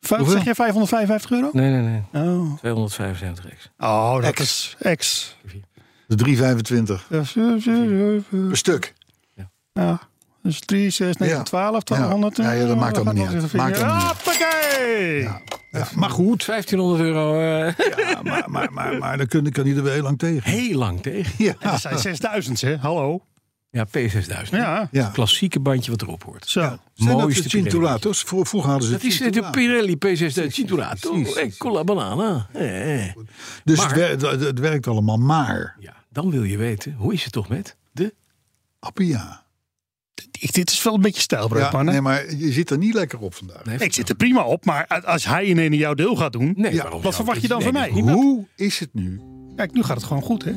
B: Hoeveel?
D: zeg jij 555 euro?
C: Nee, nee, nee.
D: Oh,
C: 275 X.
D: oh dat
B: Ex.
D: is ex.
B: De 325.
D: Dat is, eh, eh, eh,
B: Een stuk.
D: Ja. Dus 3, 6, 9,
B: Ja.
D: 12, 1200.
B: Ja. Ja,
D: eh,
B: ja, dat maakt allemaal niet uit. Maakt allemaal niet
D: Hoppakee!
B: Ja, maar goed,
C: 1500 euro. eh,
B: ja, maar, maar, maar, maar dan kun, kan iedereen heel lang tegen.
C: heel lang tegen.
B: Ja,
D: En dat zijn 6000, hè? Hallo.
C: Ja, P6000.
D: Ja.
B: ja.
C: Klassieke bandje wat erop hoort.
D: Zo.
B: Zijn dat
C: Mooiste
B: de
C: Pirelli.
B: Cinturatos? Vro- Vroeger hadden ze
C: Dat Dus is de
B: Cinturatos.
C: Pirelli P6000 Cinturato.
B: precies,
C: Eh, Cola banana. Eh, eh.
B: Dus
C: Maar-
B: het, wer- het- het werkt allemaal. Maar,
C: Ja, dan wil je weten, hoe is het toch met de...
B: Appia.
D: Ik, dit is wel een beetje stijlbreuk,
B: Ja,
D: mannen.
B: nee, maar je zit er niet lekker op vandaag.
C: Nee,
D: Ik zit er prima op, maar als hij ineens jouw deel gaat doen...
C: Nee,
B: Ja,
C: waarom zou
D: wat verwacht
C: ik-
D: je dan
C: nee,
D: van
C: dat
D: mij?
C: is niet
B: Hoe is het nu
D: Kijk, nu gaat het gewoon goed, hè?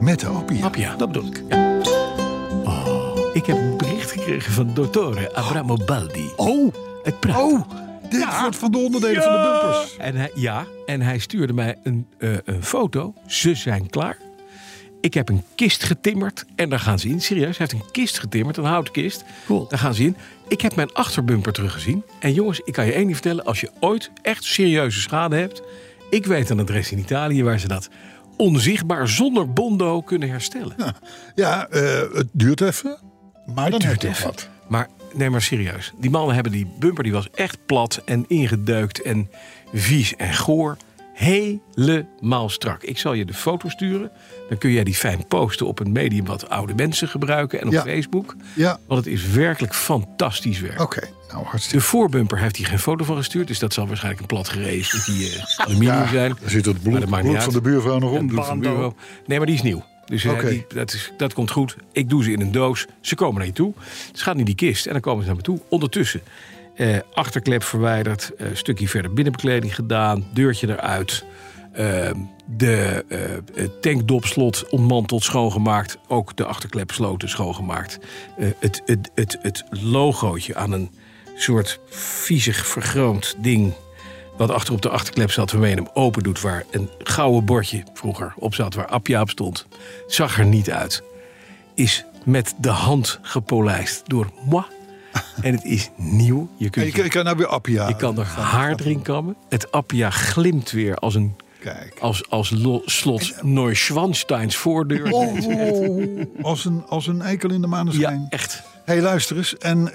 B: met de Appia?
C: knap, ja. Oh,
D: Dat bedoel ik.
C: Ik heb een bericht gekregen van dottore Abramo Baldi.
B: Oh,
C: Het praat.
B: dit wordt van de onderdelen van de bumpers.
C: En hij, ja, en hij stuurde mij een, eh, een foto. Ze zijn klaar. Ik heb een kist getimmerd. En daar gaan ze in. Serieus, hij heeft een kist getimmerd. Een houten kist.
D: Cool.
C: Daar gaan ze in. Ik heb mijn achterbumper teruggezien. En jongens, ik kan je één ding vertellen. Als je ooit echt serieuze schade hebt. Ik weet een adres in Italië waar ze dat onzichtbaar zonder bondo kunnen herstellen.
B: Ja, eh, het duurt even. Maar dan duurt
C: duurt
B: even.
C: even. Maar nee, maar serieus. Die mannen hebben die bumper, die was echt plat en ingedeukt en vies en goor. helemaal strak. Ik zal je de foto sturen. Dan kun jij die fijn posten op een medium wat oude mensen gebruiken en op
B: Ja.
C: Facebook.
B: Ja,
C: Want het is werkelijk fantastisch werk.
B: oké. Nou, hartstikke.
C: De voorbumper heeft hij geen foto van gestuurd. Dus dat zal waarschijnlijk een plat gereden met die eh, aluminium
B: Ja,
C: zijn.
B: dan zit het
C: Maar
B: bloed,
C: dat maakt
B: bloed
C: niet
B: van
C: uit.
B: de buurvrouw nog
C: En
B: om.
C: bloed van de buurvrouw. Nee, maar die is nieuw. Dus eh,
B: Oké.
C: die, dat, is, dat komt goed. Ik doe ze in een doos. Ze komen naar je toe. Ze gaan in die kist en dan komen ze naar me toe. Ondertussen eh, achterklep verwijderd. eh, stukje verder binnenbekleding gedaan. Deurtje eruit. eh, de eh, het tankdopslot ontmanteld, schoongemaakt. Ook de achterklepsloten schoongemaakt. Eh, het, het, het, het logootje aan een soort viezig vergroomd ding wat achter op de achterklep zat waarmee je hem open doet... waar een gouden bordje vroeger op zat, waar Appia op stond... zag er niet uit. Is met de hand gepolijst door moi. En het is nieuw. Je,
B: En
C: kunt,
B: je, kan- je kan naar nou weer Appia.
C: je kan er haar erin kammen. Het Appia glimt weer als een...
B: Kijk.
C: Als, als lo- slot Neuschwansteins voordeur.
B: Oh, Als, een, als een eikel in de maneschijn.
C: Ja, echt.
B: Hé, hey, luister eens. En eh,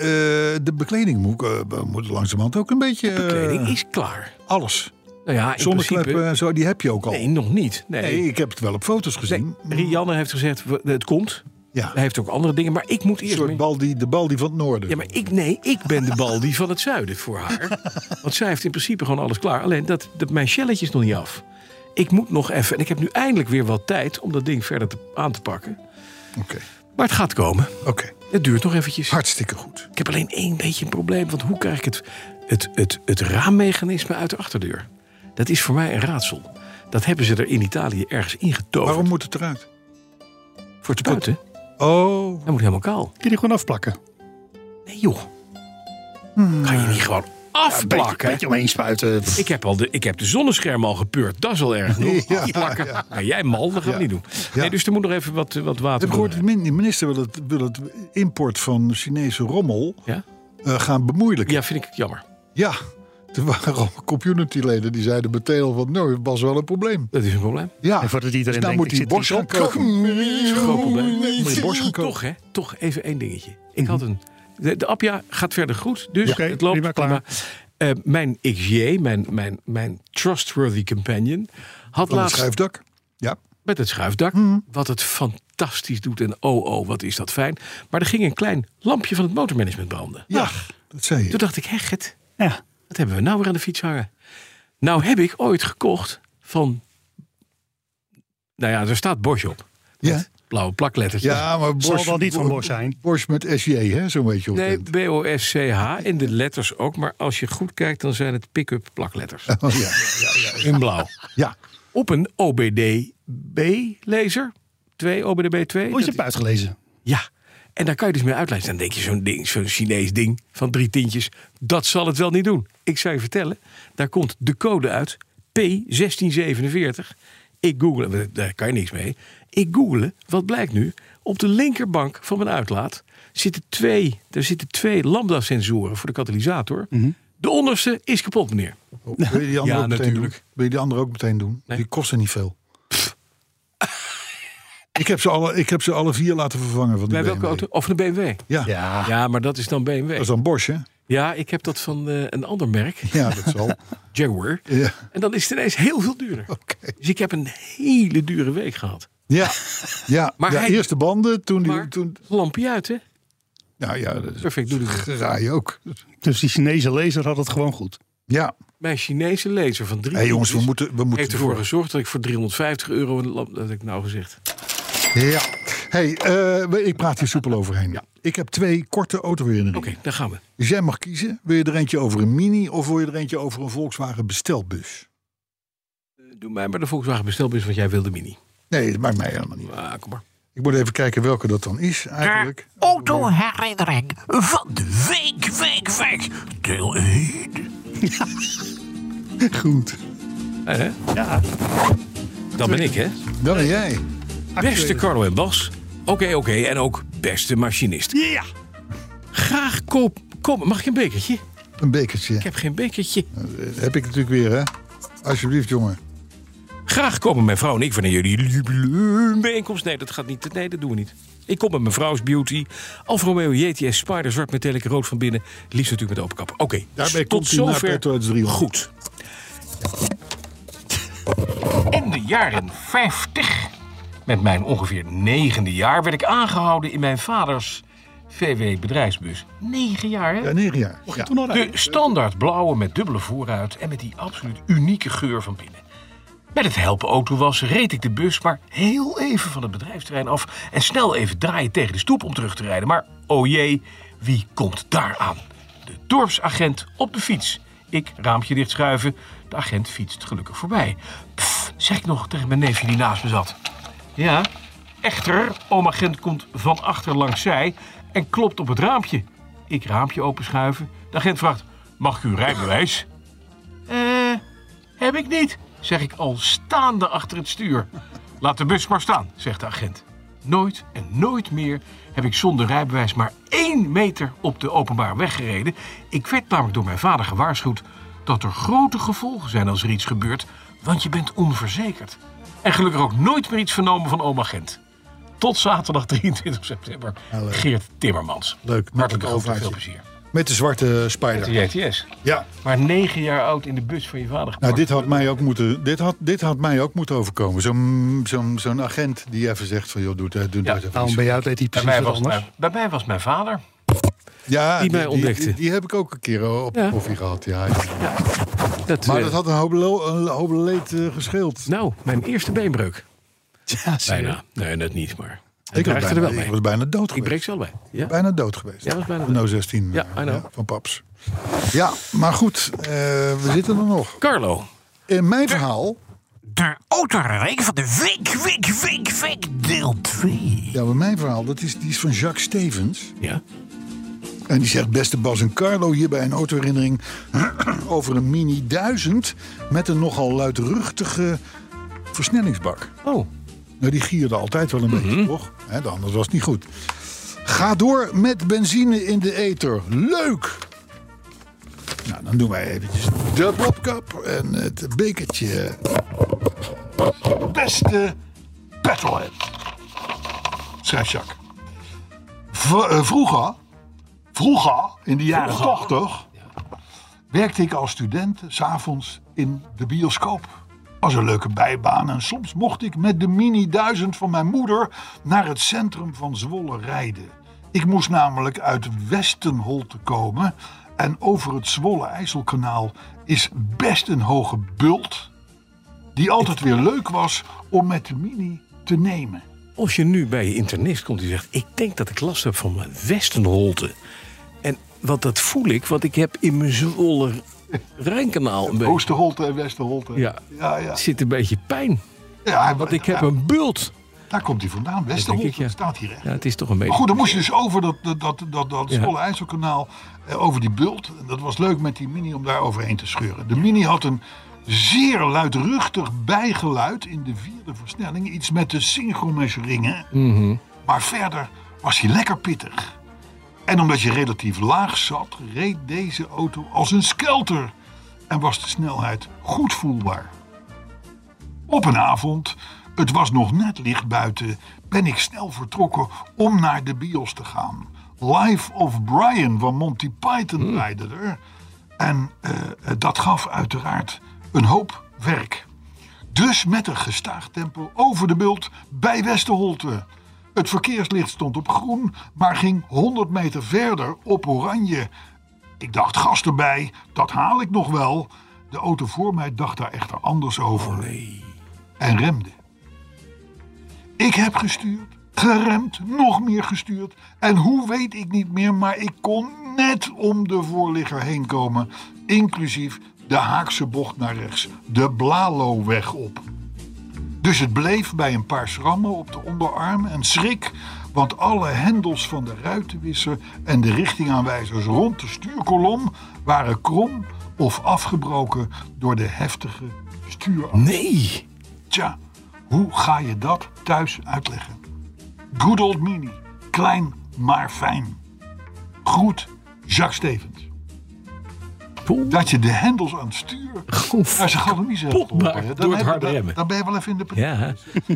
B: de bekleding moet, eh, moet langzamerhand ook een beetje... eh,
C: Kleding is klaar.
B: Alles.
C: Nou ja, in
B: Zonnekleppen
C: principe...
B: en zo, die heb je ook al.
C: Nee, nog niet. Nee.
B: Nee, ik heb het wel op foto's gezien.
C: Nee, Rianne heeft gezegd, we- het komt.
B: Mm. Ja,
C: Hij heeft ook andere dingen, maar ik moet
B: een
C: eerst...
B: soort
C: met-
B: bal die, de bal die van het noorden.
C: Ja, maar ik, nee, ik ben de bal die van het zuiden voor haar. Want zij heeft in principe gewoon alles klaar. Alleen dat, dat mijn shelletje is nog niet af. Ik moet nog even. En ik heb nu eindelijk weer wat tijd om dat ding verder te- aan te pakken.
B: Oké,
C: Maar het gaat komen.
B: oké.
C: Het duurt nog eventjes.
B: hartstikke goed.
C: Ik heb alleen één beetje een probleem. Want hoe krijg ik het, het, het, het raammechanisme uit de achterdeur? Dat is voor mij een raadsel. Dat hebben ze er in Italië ergens ingetoverd.
B: Waarom moet het eruit?
C: Voor te putten.
B: Oh,
C: Hij moet helemaal kaal.
D: Kun je die gewoon afplakken?
C: Nee joh. Kan je niet gewoon afplakken?
D: omheen spuiten.
C: Ik heb, al de, ik heb de zonnescherm al gepeurd. Dat is al erg genoeg.
B: Ja,
C: Afplakken.
B: ja.
C: Nou, jij mal, dat gaan we
B: Ja.
C: niet doen.
B: Ja.
C: Nee, dus er moet nog even wat, eh, wat
B: ik
C: water
B: heb gehoord,
C: door.
B: de min- de minister wil het, wil het import van Chinese rommel
C: Ja?
B: eh, gaan bemoeilijken.
C: ja, vind ik jammer.
B: Ja, er waren al communityleden die zeiden meteen al van... nou, het was wel een probleem.
C: Dat is een probleem.
B: Ja,
D: En voordat iedereen
B: dus
D: denkt,
B: daar moet
D: ik
B: die
D: zit hier
B: borst gaan
D: zo koken.
B: kopen.
C: Groot probleem.
B: Moet je borst gaan Mhm. kopen.
C: Toch, hè? Toch even één dingetje. Ik had een... De, de Appia gaat verder goed, dus
D: Ja. Oké,
C: het loopt
D: prima, klaar.
C: Eh, mijn XJ, mijn, mijn, mijn trustworthy companion, had
B: Van het
C: laatst
B: schuifdak. Ja.
C: met het schuifdak.
B: Mhm.
C: Wat het fantastisch doet. En oh, oh, wat is dat fijn. Maar er ging een klein lampje van het motormanagement branden.
B: Ja, dat zei je.
C: Toen dacht ik, hé Gert,
D: Ja.
C: wat hebben we nou weer aan de fiets hangen? Nou heb ik ooit gekocht van... Nou ja, er staat Bosch op.
B: Ja,
C: Blauwe plaklettertjes.
B: ja maar
D: Zal
B: borst...
D: wel niet van Bosch zijn.
B: Borst met SJ, hè? Zo'n beetje. op
C: Nee,
B: het-
C: B-O-S-C-H en de letters ook. Maar als je goed kijkt, dan zijn het pick-up plakletters.
B: Oh, ja, ja, ja, ja.
C: In blauw.
B: ja.
C: Op een OBD-B-lezer. 2, OBDB 2.
D: Oh, je hebt uitgelezen.
C: Ja, en daar kan je dus mee uitlezen. Dan denk je zo'n ding, zo'n Chinees ding van drie tientjes. Dat zal het wel niet doen. Ik zou je vertellen, daar komt de code uit. P1647. Ik google, want daar kan je niks mee. Ik google, wat blijkt nu? Op de linkerbank van mijn uitlaat zitten twee, er zitten twee lambda-sensoren voor de katalysator.
B: Mhm.
C: De onderste is kapot, meneer.
B: Wil je die andere
C: Ja,
B: ook meteen
C: natuurlijk.
B: doen? Wil je die andere ook meteen doen?
C: Nee.
B: Die kosten niet veel. ik, heb ze alle, ik heb ze alle vier laten vervangen van die
C: Bij welke
B: BMW.
C: auto? Of een BMW.
B: Ja.
D: Ja.
C: Ja, maar dat is dan
B: dat
C: BMW.
B: is dan Bosch, hè?
C: Ja, ik heb dat van eh, een ander merk,
B: Ja, dat zal.
C: Jaguar.
B: ja,
C: En dan is het ineens heel veel duurder.
B: oké.
C: Dus ik heb een hele dure week gehad.
B: Ja, ja.
C: Maar
B: ja
C: hij-
B: eerst de banden, toen...
C: Maar-
B: Die, toen
C: Lampje uit, hè?
B: nou ja, dat is
C: Perfect, doe ik het.
B: graai ook.
D: Dus die Chinese lezer had het gewoon goed.
B: Ja.
C: Mijn Chinese lezer van drie.
B: Hé jongens, we
C: tientjes
B: moeten... We moeten
C: heeft ervoor gezorgd dat ik voor 350 euro een lamp... Dat heb ik nou gezegd.
B: Ja. hey, eh, we- ik praat hier soepel overheen. Ik heb twee korte autoherinneringen.
C: Oké, daar gaan we.
B: Dus jij mag kiezen. Wil je er eentje over een Mini of wil je er eentje over een Volkswagen bestelbus?
C: Doe mij maar de Volkswagen bestelbus, want jij wil de Mini.
B: Nee, dat maakt mij helemaal niet.
C: Ah, kom maar.
B: Ik moet even kijken welke dat dan is eigenlijk.
E: Autoherinnering van de week, week, week. Deel 1.
D: Goed.
C: Eh, hè?
D: Ja.
C: Dat ben ik, hè?
B: Dan ben jij.
C: Beste Carlo en Bas. Oké, oké. En ook beste machinist.
D: Ja.
C: Graag koop... Kom, mag ik een bekertje?
B: Een bekertje. eh,
C: Ik heb geen bekertje.
B: Heb ik natuurlijk weer, hè? Alsjeblieft, jongen.
C: Graag komen mijn vrouw en ik wanneer jullie jubileumbijeenkomst. Nee, dat gaat niet. Nee, dat doen we niet. Ik kom met mijn vrouw's beauty. Alfa Romeo JTS Spider, zwart metallic, rood van binnen. Liefst natuurlijk met open kap. Oké, dus
B: Daarbij
C: tot
B: komt hij naar
C: zover.
B: Petro uit Driel.
C: Goed. In de jaren 50, met mijn ongeveer negende jaar, werd ik aangehouden in mijn vaders VW-bedrijfsbus. Negen jaar, hè?
B: Ja, negen jaar. Ja.
D: Toen al
C: De standaard blauwe met dubbele voorruit en met die absoluut unieke geur van binnen. Met het helpen autowas reed ik de bus maar heel even van het bedrijfsterrein af... en snel even draaien tegen de stoep om terug te rijden. Maar o jee, wie komt daar aan? De dorpsagent op de fiets. Ik, raampje dichtschuiven, de agent fietst gelukkig voorbij. Pff, zeg ik nog tegen mijn neefje die naast me zat. Ja, echter, oom agent komt van achter langs zij en klopt op het raampje. Ik raampje openschuiven. De agent vraagt, mag ik uw rijbewijs? Eh, heb ik niet, zeg ik al staande achter het stuur. Laat de bus maar staan, zegt de agent. Nooit en nooit meer heb ik zonder rijbewijs maar één meter op de openbare weg gereden. Ik werd namelijk door mijn vader gewaarschuwd dat er grote gevolgen zijn als er iets gebeurt, want je bent onverzekerd. En gelukkig ook nooit meer iets vernomen van oma Gent. Tot zaterdag 23 september.
B: leuk.
C: Geert Timmermans.
B: Leuk, met
C: Hartelijk
B: een
C: groet en veel
B: ovaatje.
C: plezier.
B: Met de zwarte
C: De
B: spijder.
C: JTS.
B: Ja.
C: Maar negen jaar oud in de bus van je vader gepakt.
B: Nou, dit had mij ook moeten, dit had, dit had mij ook moeten overkomen. Zo'n zo'n zo'n agent die even zegt van, joh, doe het doe
C: Ja,
B: dat even
F: Nou,
B: niet.
F: bij jou deed hij
C: bij,
F: precies
C: mij
F: wat
C: was
F: anders.
C: mijn, bij mij was mijn vader.
B: Ja,
C: die mij ontdekte.
B: Die, die heb ik ook een keer eh, op de
C: Ja.
B: koffie gehad, ja.
C: Dat,
B: Maar
C: eh,
B: dat had een hoop, lo- een hoop leed eh, gescheeld.
C: Nou, mijn eerste beenbreuk.
D: Ja, zie je.
C: Bijna. Nee, net niet, maar...
B: Ik, was
C: dreigde er
B: bijna,
C: wel mee.
B: ik was bijna dood
C: Ik
B: geweest.
C: breek ze wel bij. Ja?
B: Bijna dood geweest.
C: Ja, was bijna
B: No 16
C: Ja,
B: eh,
C: I know.
B: van Paps. Ja, maar goed, eh, we zitten er nog.
C: Carlo.
B: In mijn verhaal,
E: De Autorenring van de Week, Week, Week, Week, deel 2.
B: ja, bij mijn verhaal, dat is, die is van Jacques Stevens.
C: Ja?
B: En die zegt, beste Bas en Carlo, hier bij een autoherinnering over een Mini 1000 met een nogal luidruchtige versnellingsbak.
C: Oh.
B: Nou, die gierde altijd wel een beetje, toch? Hè, de anders was het niet goed. Ga door met benzine in de ether. Leuk! Nou, dan doen wij eventjes de plopkap en het bekertje. Beste Petrolhead. Schrijf Jacques. V- eh, vroeger, vroeger, in de jaren 80, werkte ik als student s'avonds in de bioscoop. Als een leuke bijbaan en soms mocht ik met de Mini 1000 van mijn moeder naar het centrum van Zwolle rijden. Ik moest namelijk uit Westenholte komen en over het Zwolle-IJsselkanaal is best een hoge bult die altijd weer leuk was om met de Mini te nemen.
C: Als je nu bij je internist komt die zegt... ik denk dat ik last heb van mijn westenholte. En wat dat voel ik, want ik heb in mijn zwolle Rijnkanaal een beetje...
B: Oosterholte en Westerholte.
C: Ja.
B: ja, ja.
C: zit een beetje pijn.
B: ja
C: Want ik heb een bult.
B: Daar komt hij vandaan, Westerholte.
C: ik, ja.
B: dat Oh, staat hier echt.
C: Ja, het is toch een
B: Maar
C: beetje...
B: goed, dan moest je dus over dat, dat, dat, dat, dat
C: Ja.
B: Zwolle IJsselkanaal, eh, over die bult. En Dat was leuk met die Mini om daar overheen te scheuren. De Mini had een zeer luidruchtig bijgeluid in de vierde versnelling. Iets met de synchroniseringen. Maar verder was hij lekker pittig. En omdat je relatief laag zat, reed deze auto als een skelter. En was de snelheid goed voelbaar. Op een avond, het was nog net licht buiten, ben ik snel vertrokken om naar de bios te gaan. Life of Brian van Monty Python rijden er. En eh, dat gaf uiteraard een hoop werk. Dus met een gestaag tempo over de bult bij Westerholte. Het verkeerslicht stond op groen, maar ging 100 meter verder op oranje. Ik dacht, gas erbij, dat haal ik nog wel. De auto voor mij dacht daar echter anders over en remde. Ik heb gestuurd, geremd, nog meer gestuurd. En hoe weet ik niet meer, maar ik kon net om de voorligger heen komen. Inclusief de Haakse bocht naar rechts, de Blaloweg op. Dus het bleef bij een paar schrammen op de onderarm en schrik, want alle hendels van de ruitenwisser en de richtingaanwijzers rond de stuurkolom waren krom of afgebroken door de heftige stuurarm.
C: Nee.
B: Tja, hoe ga je dat thuis uitleggen? Good old mini, klein maar fijn. Groet, Jacques Stevens.
C: Poeh.
B: Dat je de hendels aan het stuur naar zijn galamise hebt
C: Kapot
B: geholpen,
C: maakt
B: hè? Dan
C: door het
B: heb je-
C: harde
B: dan-
C: remmen.
B: Dan ben je wel even in de pret.
C: Ja, hè?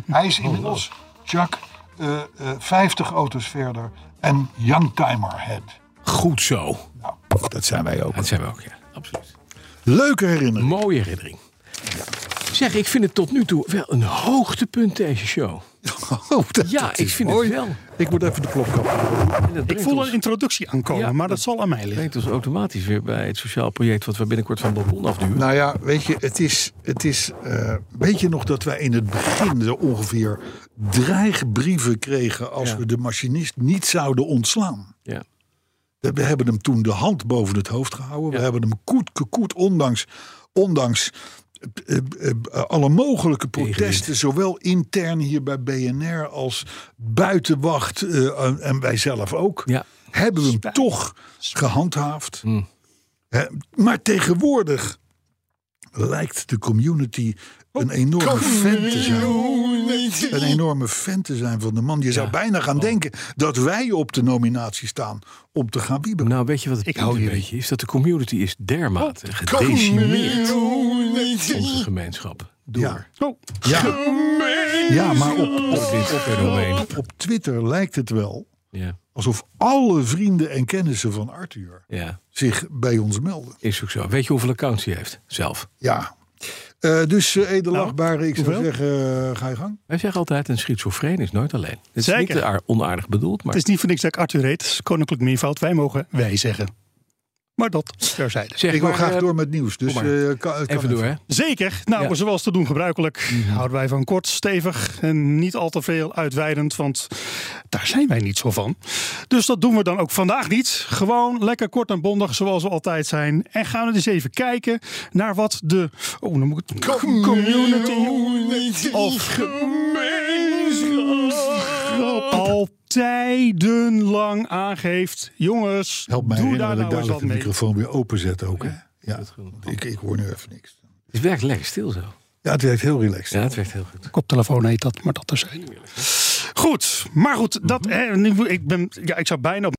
B: Hij is inmiddels, Jacques, eh, eh, 50 auto's verder en Youngtimer head.
C: goed zo.
B: Nou, Dat zijn wij ook.
C: Dat zijn we ook, ja. Absoluut.
B: Leuke herinnering.
C: Mooie herinnering. Zeg, ik vind het tot nu toe wel een hoogtepunt deze show.
B: Oh, dat-
C: Ja,
B: dat
C: ik
B: is
C: vind het
B: mooi.
C: wel.
B: Ik moet even de klok kappen.
C: En dat
D: Ik
C: brengt
D: voel
C: ons-
D: een introductie aankomen,
C: Ja,
D: maar dat zal aan mij liggen.
C: brengt ons automatisch weer bij het sociaal project... wat we binnenkort van het balkon afduwen.
B: Nou ja, weet je, het is. Het is eh, weet je nog dat wij in het begin zo ongeveer dreigbrieven kregen. als
C: Ja.
B: we de machinist niet zouden ontslaan?
C: ja.
B: We we hebben hem toen de hand boven het hoofd gehouden.
C: Ja.
B: We hebben hem koet kekoet, ondanks, ondanks eh, eh, eh, alle mogelijke protesten. Zowel intern hier bij BNR als buitenwacht. eh, en- en wij zelf ook.
C: Ja. Hmm.
B: Hebben we hem toch gehandhaafd. Hè, maar tegenwoordig lijkt de community een enorme fan te zijn. Een enorme fan te zijn van de man. Je zou bijna
C: Oh.
B: gaan denken dat wij op de nominatie staan om te gaan wieberen.
C: Nou, weet je wat het
D: Ik
C: ik
D: hou
C: een
D: jullie.
C: beetje is? Dat de community is dermate gedecimeerd. Onze gemeenschap. Door
B: Ja.
D: Oh,
B: Ja, ja maar op, op,
C: Oh, dit fenomeen.
B: op Twitter lijkt het wel
C: Ja.
B: alsof alle vrienden en kennissen van Arthur
C: ja,
B: zich bij ons melden.
C: is ook zo. Weet je hoeveel accounts hij heeft? Zelf.
B: Ja. Eh, dus eh edelachtbare, ik zou
D: Nou, hoeveel?
B: zeggen, eh, ga je gang.
C: Wij zeggen altijd, een schizofreen is nooit alleen. Het is
D: Zeker.
C: niet aar- onaardig bedoeld, maar...
D: het is niet voor niks dat ik Arthur heet. Het is Koninklijk meervoud. Wij mogen wij zeggen. Maar dat terzijde.
C: Zeg
B: Ik wil
C: maar,
B: graag
C: eh,
B: door met nieuws. Dus,
C: kom maar.
B: eh, kan- kan
C: Even door, hè?
D: Zeker. Nou,
C: Ja.
D: zoals te doen gebruikelijk houden wij van kort, stevig en niet al te veel uitweidend, want daar zijn wij niet zo van. Dus dat doen we dan ook vandaag niet. Gewoon lekker kort en bondig zoals we altijd zijn. En gaan we eens even kijken naar wat de oh, dan moet ik het- community of gemeenschap al tijdenlang aangeeft. Jongens,
B: Help mij
D: doe
B: herinneren
D: daar
B: dat ik
D: nou eens
B: dadelijk
D: wat
B: de
D: mee.
B: microfoon weer openzet ook. Hè? Ja, want ik, ik hoor nu even niks.
C: Het werkt lekker stil zo.
B: Ja, het werkt heel relaxed.
C: Ja, het werkt heel goed.
D: Koptelefoon heet dat, maar dat er zijn. Goed, maar
B: Mhm.
D: goed, dat, hè, nu- ik, ben, ja, ik zou bijna op.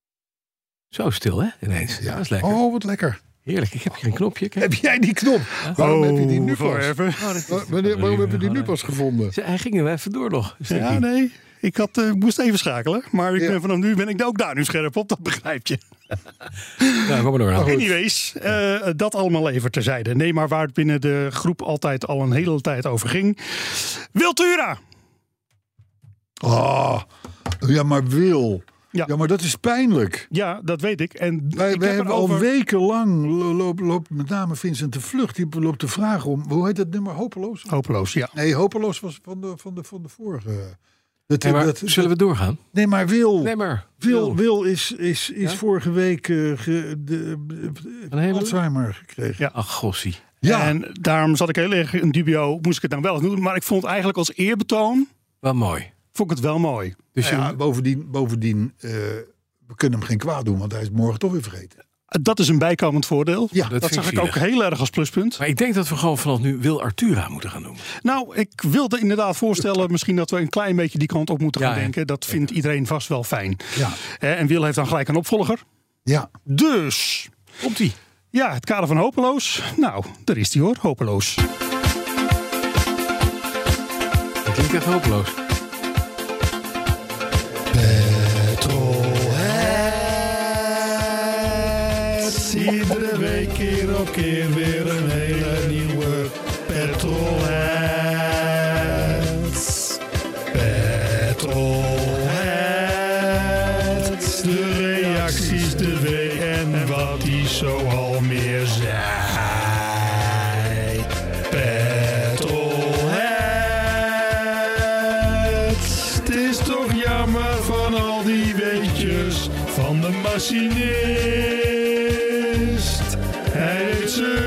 C: Zo stil, hè? Ineens. Ja. Dat is lekker.
B: Oh, wat lekker.
C: Heerlijk. Ik heb hier een knopje. Kijk.
B: Heb jij die knop? Waarom heb je die nu
D: Oh, voor
B: pas? Oh,
D: even.
B: Wa- wanneer- waarom heb je die nu pas gevonden?
C: Ze- Hij ging er even door nog. Een stukje.
D: Ja, nee. Ik had, eh, moest even schakelen, maar ik
B: Ja.
D: ben, vanaf nu ben ik daar ook daar nu scherp op, dat begrijp je.
C: Nou, kom maar door. Aan.
D: Anyways, eh, dat allemaal even terzijde. Nee, maar waar het binnen de groep altijd al een hele tijd over ging. Wiltura!
B: Ah, ja, maar Wil.
D: Ja.
B: Ja. maar dat is pijnlijk.
D: Ja, dat weet ik. En
B: Wij,
D: ik
B: wij
D: heb
B: hebben
D: erover-
B: al wekenlang, lo- loopt loopt met name Vincent de Vlucht, die loopt de vraag om, hoe heet dat nummer? Hopeloos?
D: Hopeloos, ja.
B: Nee, Hopeloos was van de, van de, van de vorige. Dat,
C: Nee, maar,
B: dat-
C: zullen we doorgaan?
B: nee, maar Wil.
C: Nee, maar...
B: Oh. Wil, Wil is, is, is vorige week eh, ge- de,
C: Van Hemelen?
B: Alzheimer gekregen.
D: Ja.
C: Ach, gossie.
B: Ja.
D: En daarom zat ik heel erg in dubio, moest ik het nou wel doen. Maar ik vond het eigenlijk als eerbetoon,
C: Wel mooi.
D: vond ik het wel mooi.
C: Dus
B: Nou
C: je-
B: ja, bovendien, bovendien eh, we kunnen hem geen kwaad doen, want hij is morgen toch weer vergeten.
D: Dat is een bijkomend voordeel.
B: Ja,
D: dat
C: dat vind
D: zag
C: ik
D: ik ook
C: zielig.
D: heel erg als pluspunt.
C: Maar ik denk dat we gewoon vanaf nu Wil Artura moeten gaan noemen.
D: Nou, ik wilde inderdaad voorstellen misschien dat we een klein beetje die kant op moeten
C: Ja,
D: gaan
C: hè.
D: denken. Dat vindt iedereen vast wel fijn.
B: Ja.
D: Eh, En Wil heeft dan gelijk een opvolger.
B: Ja,
D: Dus,
C: Op die.
D: ja, het kader van hopeloos. Nou, daar is die hoor, hopeloos.
C: Dat klinkt echt hopeloos.
D: Iedere week keer op keer weer een hele nieuwe Petrolheads. Petrolheads. De reacties de week en wat die zo al meer zei. Petrolheads. Het is toch jammer van al die weetjes van de machinist. Hij heeft ze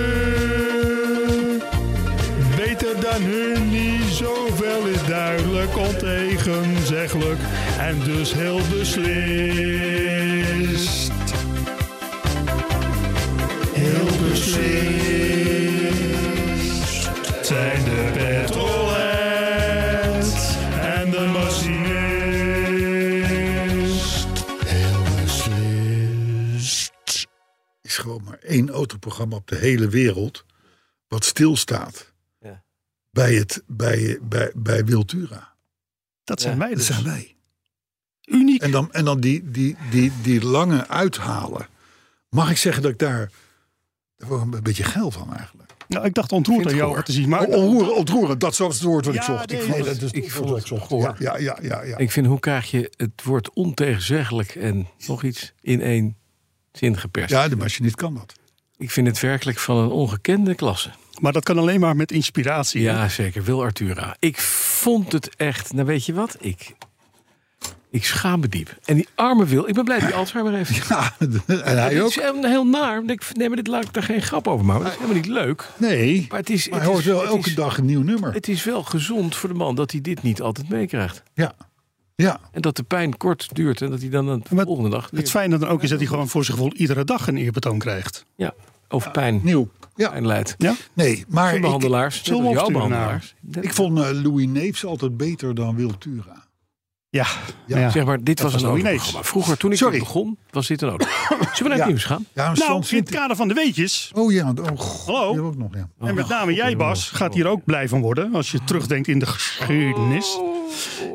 D: Beter dan hun niet zoveel is duidelijk ontegenzeggelijk en dus heel beslist. Heel beslist zijn de petrolheads en de machinist. Heel beslist.
B: is gewoon maar één autoprogramma op de hele wereld wat stilstaat
C: Ja.
B: bij, het, bij, bij, bij Wiltura.
D: Dat zijn wij
B: Dat
D: dus.
B: zijn wij.
D: Uniek.
B: En dan, en dan die, die, die, die lange uithalen. Mag ik zeggen dat ik daar Daar word ik een beetje geil van eigenlijk.
D: Nou, ik dacht ontroerd
C: vind
D: aan
C: het
D: jou
C: goor.
D: te zien. Maar
B: Oh, onroerend, ontroerend, dat was het woord wat ik
D: Ja,
B: zocht.
D: nee,
B: vond
D: dat-
B: het dus-
C: ik vond
B: wat
C: het
B: zocht.
C: goor.
B: Ja, ja, ja. ja, ja.
C: Ik vind, hoe krijg je het woord ontegenzeggelijk en nog iets in één zin geperst?
B: ja de machinist kan dat.
C: Ik vind het werkelijk van een ongekende klasse.
D: Maar dat kan alleen maar met inspiratie. hè?
C: Ja, zeker. Wil Artura. Ik vond het echt... Nou, weet je wat? Ik, ik schaam me diep. En die arme Wil... Ik ben blij dat hij Alzheimer heeft.
B: Ja, en hij ook.
C: Het is heel, heel naar. want ik- Nee, maar dit laat ik daar geen grap over maken. want Dat is helemaal niet leuk.
B: Nee,
C: Maar het is...
B: maar
C: het
B: hij hoort
C: is-
B: wel
C: het
B: elke
C: is-
B: dag een nieuw nummer.
C: Het is wel gezond voor de man dat hij dit niet altijd meekrijgt.
B: Ja, ja.
C: En dat de pijn kort duurt en dat hij dan de
D: Maar
C: volgende dag... weer-
D: Het fijne dan ook is dat hij gewoon voor zijn gevoel iedere dag een eerbetoon krijgt.
C: Ja, over pijn,
B: Nieuw. Ja,
C: pijn leidt.
D: Ja?
B: nee, maar
C: Zijn
B: Eh, ik,
C: behandelaars, net
D: zullen we
C: als jouw
D: opsturen naar
C: behandelaars.
B: ik vond eh, Louis Neefs altijd beter dan Wiltura.
D: Ja.
B: Ja.
D: ja.
C: Zeg maar, dit was,
D: was
C: een
D: nog
C: ander
D: niet eens.
C: programma. Vroeger, toen ik
B: Sorry.
C: dit begon, was dit een ander. Zullen we naar het
B: Ja.
C: nieuws gaan?
B: Ja, een
D: Nou,
B: stand
D: in het kader van de weetjes.
B: Oh ja, oh, god,
D: Hallo?
B: die heb ik ook nog, ja.
C: Oh.
D: En met name jij, Bas, gaat hier ook blij van worden. Als je terugdenkt in de geschiedenis.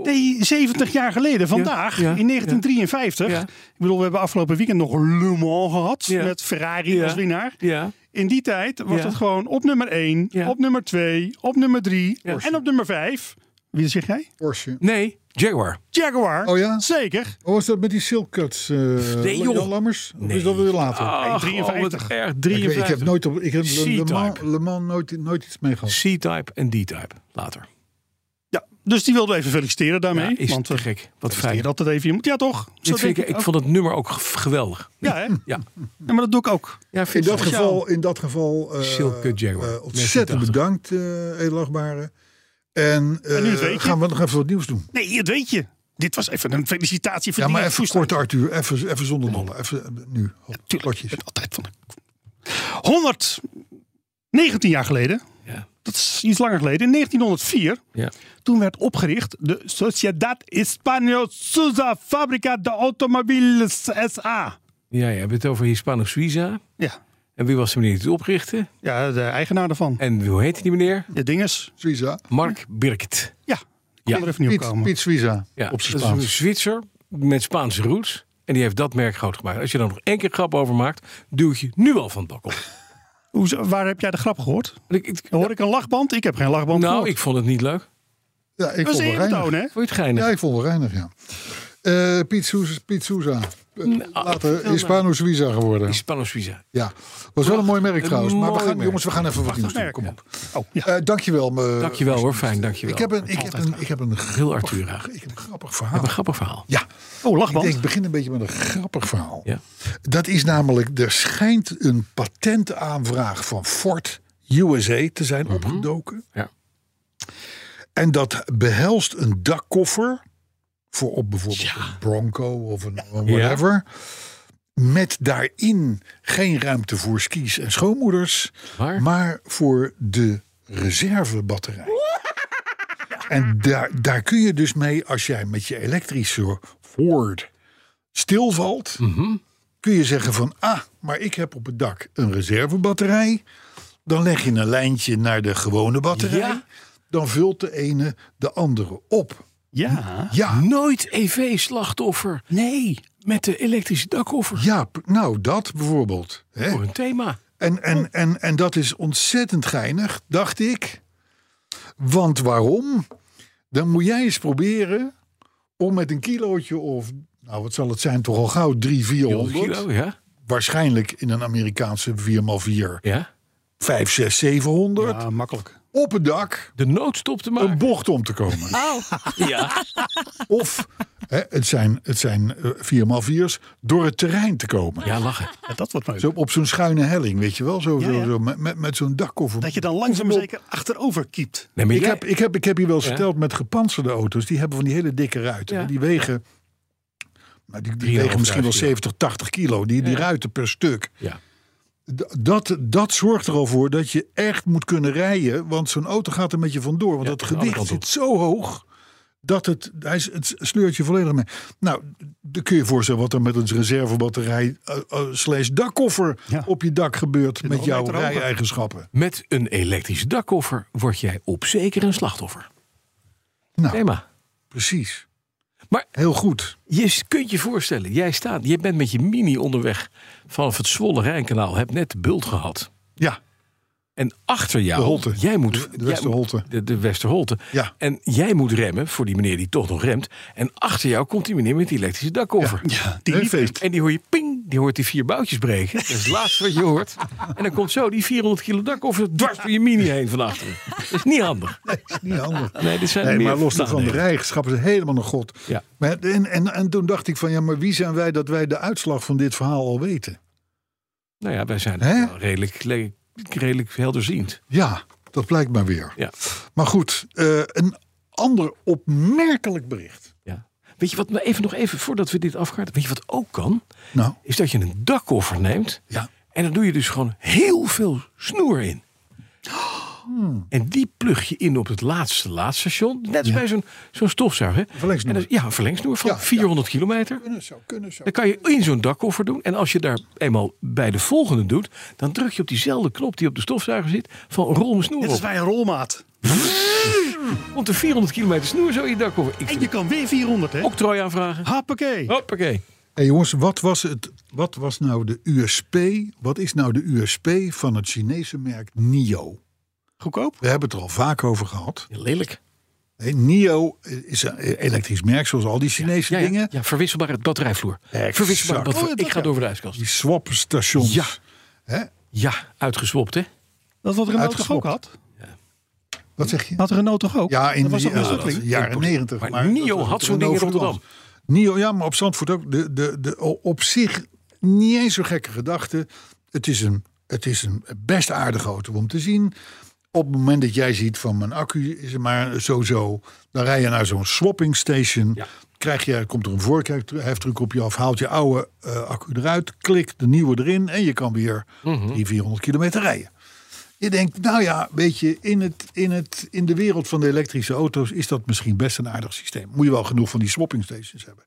D: Nee, 70 jaar geleden, vandaag,
C: ja,
D: in 1953.
C: ja.
D: Ik bedoel, we hebben afgelopen weekend nog Le Mans gehad.
C: Ja.
D: Met Ferrari
C: Ja.
D: als winnaar.
C: Ja,
D: In die tijd was
C: Ja.
D: het gewoon op nummer 1,
C: Ja.
D: op nummer 2, op nummer 3
C: Ja.
D: en op nummer 5. Wie zeg jij?
B: Porsche.
C: nee, Jaguar.
D: Jaguar.
B: Oh ja?
D: Zeker.
B: Oh, was dat met die silk cuts? eh
C: joh.
B: Jan Lammers? Of is dat weer later?
C: Ah,
D: oh, 53.
C: erg,
B: ik, weet-
C: 53.
B: ik heb nooit op, ik heb Le, Le
C: C-type.
B: Mans, Le Mans nooit, nooit iets mee gehad.
C: C-type en D-type, later.
D: Ja, dus die wilden we even feliciteren daarmee.
C: Ja, is
D: want
B: eh,
D: eh, we
C: te gek. Wat
D: feliciteren
C: fijn.
D: dat het even iemand. Ja, toch? Zo
C: Dit vind
D: denk
C: ik,
B: oh.
C: ik vond het nummer ook g- geweldig.
D: Ja, hè?
C: Ja,
D: Ja, maar dat doe ik ook.
C: ja
B: In
C: vind
B: dat
C: ik ook.
B: geval, in dat geval eh,
C: Silke Jaguar.
B: eh, ontzettend bedankt,
C: 1980.
B: eh edelachtbare. En, eh,
D: En nu het weetje.
B: gaan we nog even wat nieuws doen.
D: Nee, dat weet je. Dit was even een felicitatie voor
B: Ja,
D: die eh,
B: maar even
D: toestand.
B: kort, Arthur. Even, even zonder dolle. Even eh, nu.
D: Tuurlijk, ik
B: Plotjes.
D: ben altijd van de... 119 jaar geleden,
C: Ja.
D: dat is iets langer geleden, in 1904,
C: Ja.
D: toen werd opgericht de Sociedad Hispano Suza Fabrica de Automobiles S.A.
C: Ja, je hebt het over Hispano Suiza.
D: Ja,
C: En wie was de meneer die het oprichtte?
D: ja de eigenaar daarvan.
C: En hoe heette die meneer?
D: De dinges.
B: Suiza.
C: Mark Birkt.
D: Ja, kon
C: Ja.
D: er even niet op
B: Piet,
D: komen.
B: Piet Suiza.
C: Ja,
B: Op zijn
C: dat is een
B: Spaans.
C: Zwitser met Spaanse roots. En die heeft dat merk groot gemaakt. Als je daar nog één keer grap over maakt, duw ik je nu al van het dak op.
D: Hoezo- waar heb jij de grap gehoord?
C: Ik- ik-
D: Hoor ik een lachband? Ik heb geen lachband
C: nou,
D: gehoord.
C: ik vond het niet leuk.
B: Ja, ik
D: dat
B: vond
D: is een
B: wel
D: eerbetoon,
B: reinig.
D: hè?
C: Vond je het geinig?
B: Ja, ik vond wel reinig, ja. Eh, Piet Suiza. Piet Suiza. Eh,
C: Mm,
D: ah,
B: Later Hispano Suiza geworden.
C: Hispano Suiza.
B: Ja, was wel een mooi merk
C: Een
B: trouwens. Maar we
C: mooi
B: gaan,
C: merk.
B: jongens, we gaan even wat nieuws doen.
D: merk,
B: Kom op.
D: Oh, ja.
B: Eh dankjewel. me-
C: Dankjewel hoor, fijn, dankjewel.
B: Ik heb een, ik heb een, ik heb een, grap-
C: Heel Artura.
B: ik heb een grappig
C: Ik
B: verhaal.
C: heb een grappig verhaal.
B: Ja,
D: oh
B: ik, denk,
D: lachband.
B: ik begin een beetje met een grappig verhaal.
C: Ja.
B: Dat is namelijk, er schijnt een patentaanvraag van Ford USA te zijn
C: Mhm.
B: opgedoken.
C: Ja.
B: En dat behelst een dakkoffer voor op bijvoorbeeld een Bronco of een whatever. Met daarin geen ruimte voor skis en schoonmoeders,
C: Waar?
B: maar voor de reservebatterij. En daar, daar kun je dus mee, als jij met je elektrische Ford stilvalt,
C: Mhm.
B: kun je zeggen van, ah, maar ik heb op het dak een reservebatterij. Dan leg je een lijntje naar de gewone batterij.
C: Ja.
B: Dan vult de ene de andere op.
D: Ja.
B: Ja,
C: Nooit EV-slachtoffer. Nee. Met de elektrische dakkoffer.
B: ja p- nou dat bijvoorbeeld. Hè?
C: Voor een thema.
B: En, en, en, en dat is ontzettend geinig, dacht ik. Want waarom? Dan moet jij eens proberen om met een kilootje of... Nou, wat zal het zijn? Toch al gauw drie,
C: 100
B: 400.
C: kilo, ja.
B: Waarschijnlijk in een Amerikaanse 4x4
C: ja.
B: 5, 6, 700.
D: Ja, ah, makkelijk.
B: Op het dak
C: De noodstop te
B: een
C: maken.
B: bocht om te komen.
D: Oh.
C: Ja.
B: Of, hè, het zijn, het zijn eh, 4x4's, door het terrein te komen.
C: ja, lachen.
D: Ja, dat wordt leuk.
B: Zo op zo'n schuine helling, weet je wel? Zo,
D: Ja, ja.
B: Zo, zo, met- met, met zo'n dakkoffer.
D: Dat je dan langzaam maar zeker achterover kiept.
C: Nee, maar
B: Ik
C: jij-
B: heb, ik, heb, ik heb hier wel eens verteld met gepantserde auto's. Die hebben van die hele dikke ruiten.
C: Ja.
B: Die wegen, nou, die, die
C: 3.500
B: wegen misschien wel
C: kilo.
B: 70, 80 kilo. Die, die ruiten per stuk.
C: Ja.
B: D- Dat, dat zorgt er al voor dat je echt moet kunnen rijden. Want zo'n auto gaat er met je vandoor. Want
C: Ja,
B: dat
C: de andere
B: gewicht
C: kant op.
B: zit zo hoog. Dat het, hij, is- het sleurt je volledig mee. Nou, dan kun je je voorstellen wat er met een reservebatterij eh, eh, slash dakkoffer
D: Ja.
B: op je dak gebeurt. Met
D: nog
B: jouw
D: meter hoger.
B: rij-eigenschappen.
C: Met een elektrische dakkoffer word jij op zeker een slachtoffer.
B: Nou,
C: Thema.
B: precies.
C: Maar
B: Heel goed.
C: je kunt je voorstellen, jij staat, je bent met je mini onderweg vanaf het Zwolle Rijnkanaal, hebt net de bult gehad.
B: Ja,
C: En achter jou,
B: De Holte.
C: jij moet,
B: De- de
C: jij moet-
B: Westerholte.
C: de, de Westerholte.
B: Ja.
C: En jij moet remmen voor die meneer die toch nog remt. En achter jou komt die meneer met die elektrische dakkoffer.
B: die
D: liep-
B: feest.
C: En die hoor je ping, die hoort die vier boutjes breken. Dat is het laatste wat je hoort. En dan komt zo die 400 kilo dakkoffer dwars door je mini heen van achteren. Dat is niet handig.
B: Niet handig.
C: Nee, dit zijn
B: Nee,
C: meer
B: maar los daarvan, de
C: nadenken.
B: rijgeschap is helemaal een god.
C: Ja.
B: Maar, en, en, en toen dacht ik van, ja, maar wie zijn wij dat wij de uitslag van dit verhaal al weten?
C: Nou ja, wij zijn
B: Hè?
C: wel redelijk, le- redelijk helderziend.
B: Ja, dat blijkt maar weer.
C: Ja.
B: Maar goed, eh, een ander opmerkelijk bericht.
C: Ja. Weet je wat, nou, even nog even voordat we dit afkaarten. Weet je wat ook kan?
B: Nou,
C: Is dat je een dakkoffer neemt.
B: ja.
C: En dan doe je dus gewoon heel veel snoer in.
B: Hmm.
C: En die plug je in op het laatste laadstation. Net als bij zo'n zo'n stofzuiger. hè?
B: verlengsnoer.
C: En dat- ja, een verlengsnoer van
B: Ja, ja.
C: 400 kilometer.
B: Kunnen zo, kunnen zo.
C: Dan kan je in zo'n dakkoffer doen. En als je daar eenmaal bij de volgende doet... dan druk je op diezelfde knop die op de stofzuiger zit... van rol mijn snoer
D: Dit is
C: op.
D: bij een rolmaat.
C: Komt er 400 kilometer snoer zo in je dakkoffer. Ik
D: En
C: vind
D: je kan weer 400, hè?
B: Oh.
C: het- octrooi aanvragen.
D: Hoppakee.
C: Hoppakee.
B: Hey jongens, wat was, het, wat was nou de USP? Wat is nou de USP van het Chinese merk NIO?
D: Goedkoop.
B: We hebben het er al vaak over gehad.
C: Lelijk.
B: Nee, NIO is een elektrisch merk, zoals al die Chinese
C: Ja, ja,
B: dingen.
C: ja, verwisselbare batterijvloer.
B: Exact.
C: Verwisselbare
B: Oh,
C: batterij.
B: ja,
C: Ik ga door voor de ijskast.
B: Die swapstations.
C: Ja.
B: Hè?
C: Ja, uitgeswopt hè?
D: Dat wat Renault toch
B: Uitgeslopt.
D: ook had?
B: Wat zeg je?
D: Had Renault toch ook?
B: Ja, in
D: dat was
B: de
D: toch een stukking?
B: jaren negentig.
C: Maar NIO had zo'n ding in Rotterdam.
B: NIO, ja, maar op Zandvoort ook. De, de, de, op zich niet eens zo gekke gedachte. Het is, een, het is een best aardige auto om te zien. Op het moment dat jij ziet van mijn accu is het maar sowieso. Dan rij je naar zo'n swapping station.
C: Ja.
B: Krijg je, komt er een voorkijkheftruc op je af. Haalt je oude eh, accu eruit. Klik de nieuwe erin. En je kan weer
C: Mhm.
B: die 400 kilometer rijden. Je denkt, nou ja, weet je, in, het, in, het, in de wereld van de elektrische auto's is dat misschien best een aardig systeem. Moet je wel genoeg van die swapping stations hebben.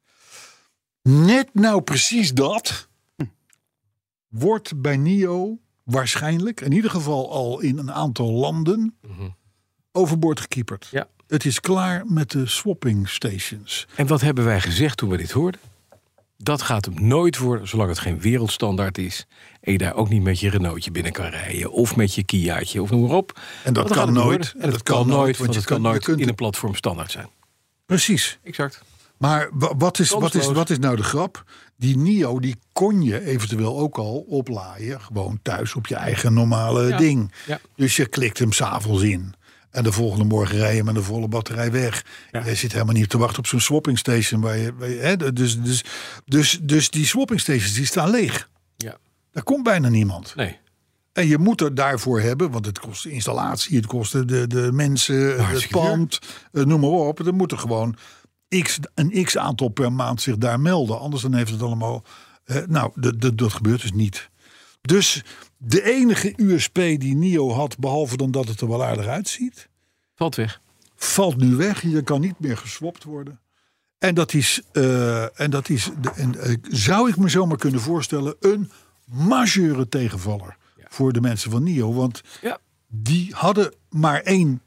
B: Net nou precies dat wordt bij NIO waarschijnlijk, in ieder geval al in een aantal landen, overboord gekieperd.
C: Ja.
B: Het is klaar met de swapping stations.
C: En wat hebben wij gezegd toen we dit hoorden? Dat gaat hem nooit worden zolang het geen wereldstandaard is. En je daar ook niet met je Renaultje binnen kan rijden. Of met je Kiaatje of noem maar op.
B: En dat
C: Want dan
B: kan
C: gaat het niet
B: nooit.
C: worden. En dat, kan nooit, want het
B: je
C: kan
B: kunt- je
C: nooit
B: kunt
C: in
B: het-
C: een platform standaard zijn.
B: Precies.
C: Exact.
B: Maar wa- wat is, wat, is,
C: Kansloos.
B: wat is nou de grap? Die NIO, die kon je eventueel ook al oplaaien. Gewoon thuis op je eigen normale
C: Ja,
B: ding.
C: ja.
B: Dus je klikt hem s'avonds in. En de volgende morgen rij je met een volle batterij weg. Je zit helemaal niet te wachten op zo'n swapping station. Waar je, waar je- hè, dus, dus, dus, dus die swapping stations die staan leeg.
C: Ja.
B: Daar komt bijna niemand.
C: Nee.
B: En je moet er daarvoor hebben, want het kost de installatie, het kost de- de, de mensen, het
C: hartstikke duur.
B: pand, eh, noem maar op. Er moeten gewoon x, een x aantal per maand zich daar melden. Anders dan heeft het allemaal. eh, nou, de, de, dat gebeurt dus niet. Dus de enige USP die NIO had, behalve dan dat het er wel aardig uitziet,
C: Valt weg.
B: valt nu weg. Je kan niet meer geswapt worden. En dat is, eh, en dat is de- en, eh, zou ik me zomaar kunnen voorstellen, een majeure tegenvaller voor de mensen van NIO. Want
C: Ja.
B: die hadden maar één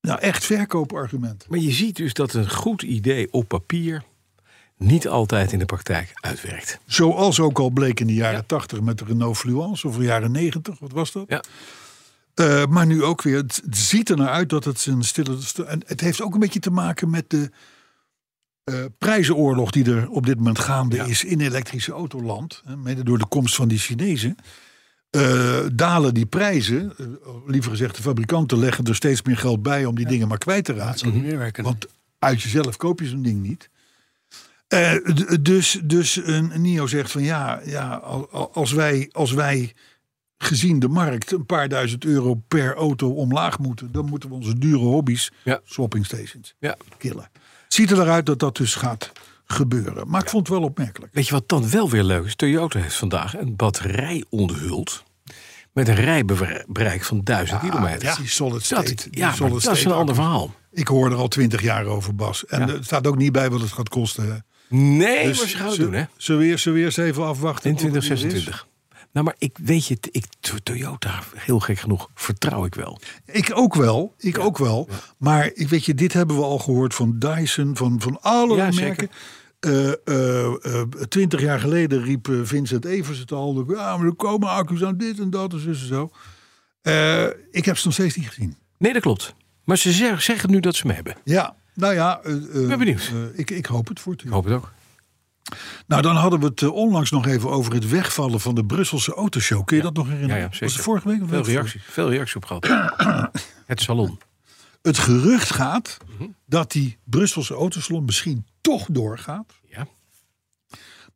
B: nou, echt verkoopargument.
C: Maar je ziet dus dat een goed idee op papier niet altijd in de praktijk uitwerkt.
B: Zoals ook al bleek in de jaren 80 met de Renault Fluence of de jaren 90, wat was dat?
C: Ja.
B: Eh, maar nu ook weer, het het ziet er naar uit dat het een stille... st- En het heeft ook een beetje te maken met de eh, prijzenoorlog die er op dit moment gaande is in elektrische autoland. hè, Mede door de komst van die Chinezen. Eh, dalen die prijzen, eh, liever gezegd de fabrikanten leggen er steeds meer geld bij om die dingen maar kwijt te raken.
D: Zal niet meer werken.
B: Want uit jezelf koop je zo'n ding niet. Eh, d- dus dus een NIO zegt van ja, ja al- al- als, wij, als wij gezien de markt een paar duizend euro per auto omlaag moeten, dan moeten we onze dure hobby's,
C: Ja.
B: swapping stations,
C: Ja.
B: killen. Het ziet er naar uit dat dat dus gaat gebeuren. Maar ik vond het wel opmerkelijk.
C: Weet je wat dan wel weer leuk is? Toyota heeft vandaag een batterij onthuld. Met een rijbereik van 1000 kilometer.
B: Die solid
C: Dat,
B: state. die
C: ja, maar
B: solid
C: dat is
B: state
C: een ander
B: accu.
C: verhaal.
B: Ik hoor er al twintig jaar over, Bas. En er staat ook niet bij wat het gaat kosten. hè.
C: Nee,
B: Dus
C: maar ze gaan het
B: ze-
C: doen, hè?
B: Zullen we eerst zullen we eerst even afwachten?
C: In
B: tot het hier is?
C: 2026. Nou, maar ik weet je, ik, Toyota, heel gek genoeg, vertrouw ik wel.
B: Ik ook wel, ik ook wel. Maar ik weet je, dit hebben we al gehoord van Dyson, van, van allerlei
C: Ja, zeker.
B: merken. Eh, Twintig jaar geleden riep eh, Vincent Evers het al. Ja, maar er komen accu's aan dit en dat en zo en zo. Eh, ik heb ze nog steeds niet gezien.
C: Nee, dat klopt. Maar ze zeg- zeggen nu dat ze me hebben.
B: Ja, nou ja. eh, eh,
C: ben benieuwd.
B: eh, ik, ik hoop het voor u.
C: Ik hoop het ook.
B: Nou, dan hadden we het eh, onlangs nog even over het wegvallen van de Brusselse autoshow. Kun je dat nog herinneren?
C: Ja, ja, zeker.
B: Was het vorige week? Of
C: Veel
B: week voor?
C: reacties, veel reacties op gehad. het salon.
B: Het gerucht gaat
C: Mhm.
B: dat die Brusselse autosalon misschien toch doorgaat.
C: Ja.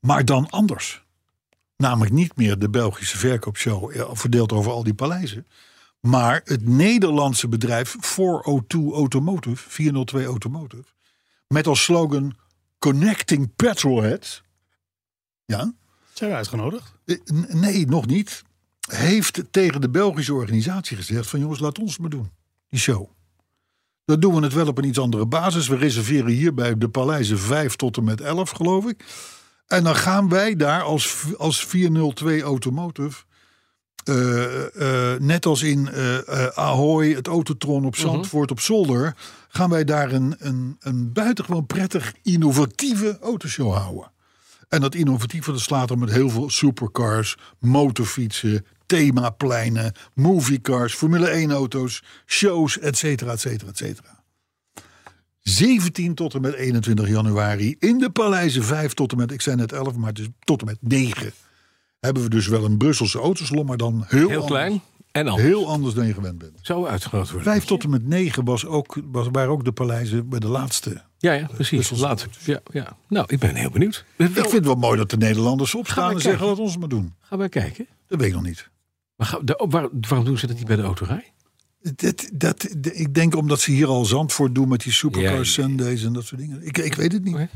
B: Maar dan anders. Namelijk niet meer de Belgische verkoopshow eh, verdeeld over al die paleizen. Maar het Nederlandse bedrijf 402 Automotive, 402 Automotive. Met als slogan Connecting Petrolheads. Ja,
D: Zijn we uitgenodigd?
B: eh, n- nee, nog niet. Heeft tegen de Belgische organisatie gezegd: van jongens, laat ons het maar doen, die show. Dan doen we het wel op een iets andere basis. We reserveren hier bij de paleizen 5 tot en met 11, geloof ik. En dan gaan wij daar als, v- als 402 Automotive. eh, eh, net als in eh eh Ahoy, het Autotron op Zandvoort op Zolder. gaan wij daar een, een, een buitengewoon prettig innovatieve autoshow houden. En dat innovatieve dat slaat er met heel veel supercars, motorfietsen, themapleinen, moviecars, Formule 1-auto's, shows, et cetera, et cetera, et cetera. 17 tot en met 21 januari in de Paleizen 5 tot en met, ik zei net 11, maar het is tot en met 9. Hebben we dus wel een Brusselse autosalon, maar dan heel,
C: Heel klein en al.
B: Anders, heel anders dan je gewend bent.
C: Zou uitgenodigd worden.
B: 5 tot en met 9 was ook, was, waren ook de Paleizen bij de laatste.
C: Ja, ja, precies.
B: Brusselse
C: Later. Ja, ja. Nou, ik ben heel benieuwd. Wel,
B: Ik vind het wel mooi dat de Nederlanders
C: Gaan
B: opstaan
C: we
B: en zeggen:
C: kijken.
B: laat ons het maar doen.
C: Gaan we kijken.
B: Dat weet ik nog niet.
C: Maar ga, daar- oh, waar- waarom doen ze dat niet bij de autorij?
B: Dat, dat, de- ik denk omdat ze hier al Zandvoort doen met die supercars,
C: Ja, ja, ja.
B: Sundays en dat soort dingen. Ik, ik weet het niet.
C: Oké.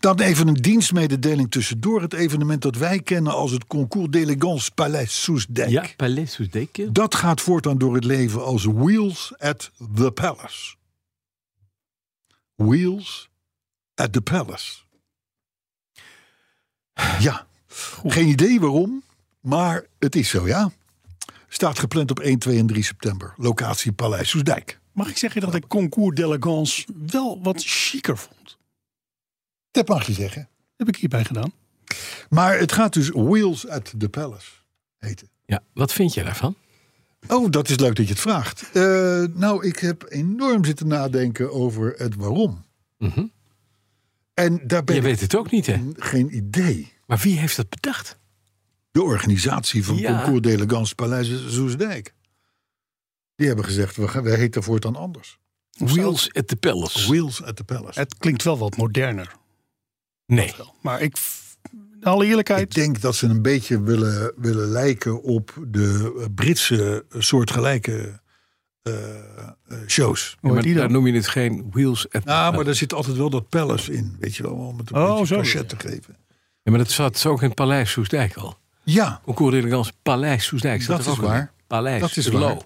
B: Dan even een dienstmededeling tussendoor. Het evenement dat wij kennen als het Concours d'Elegance Palais Soesdijk.
C: Ja, Palais Sousdeke.
B: Dat gaat voortaan door het leven als Wheels at the Palace. Wheels at the Palace. Ja, geen idee waarom, maar het is zo, ja. Staat gepland op 1, 2 en 3 september. Locatie Paleis Soesdijk.
D: Mag ik zeggen dat ik Concours d'Elegance wel wat chiquer vond?
B: Dat mag je zeggen.
D: Heb ik hierbij gedaan.
B: Maar het gaat dus Wheels at the Palace heten.
C: Ja, wat vind jij daarvan?
B: Oh, dat is leuk dat je het vraagt. Eh, nou, ik heb enorm zitten nadenken over het waarom.
C: Mhm.
B: En daar ben
C: Je
B: ik
C: weet het ook niet, hè?
B: geen idee.
C: Maar wie heeft dat bedacht?
B: De organisatie van
C: Ja.
B: Concours d'Elegance Paleis Soesdijk. Die hebben gezegd, we, gaan, we heten voortaan anders.
C: Wheels at the Palace.
B: Wheels at the Palace.
D: Het klinkt wel wat moderner.
C: Nee.
D: Maar ik, f- in alle
B: Ik
D: eerlijkheid,
B: denk dat ze een beetje willen, willen lijken op de eh, Britse eh, soortgelijke eh, eh, shows.
D: hoe heet
C: Maar
D: die
C: daar
D: dan?
C: noem je het geen Wheels at the
B: Nou, maar
C: Palace.
B: daar zit altijd wel dat palace in. Weet je wel, om het een
D: Oh,
B: beetje
D: zo.
B: cachet te geven.
C: Ja, maar dat zat zo ook in Paleis Soesdijk al.
B: Ja,
C: Concours d'Elegance Paleis Soesdijk. zat
B: Dat
C: er
B: is
C: ook al in.
B: waar.
C: Paleis.
B: Dat is
C: het
B: waar.
C: Lo.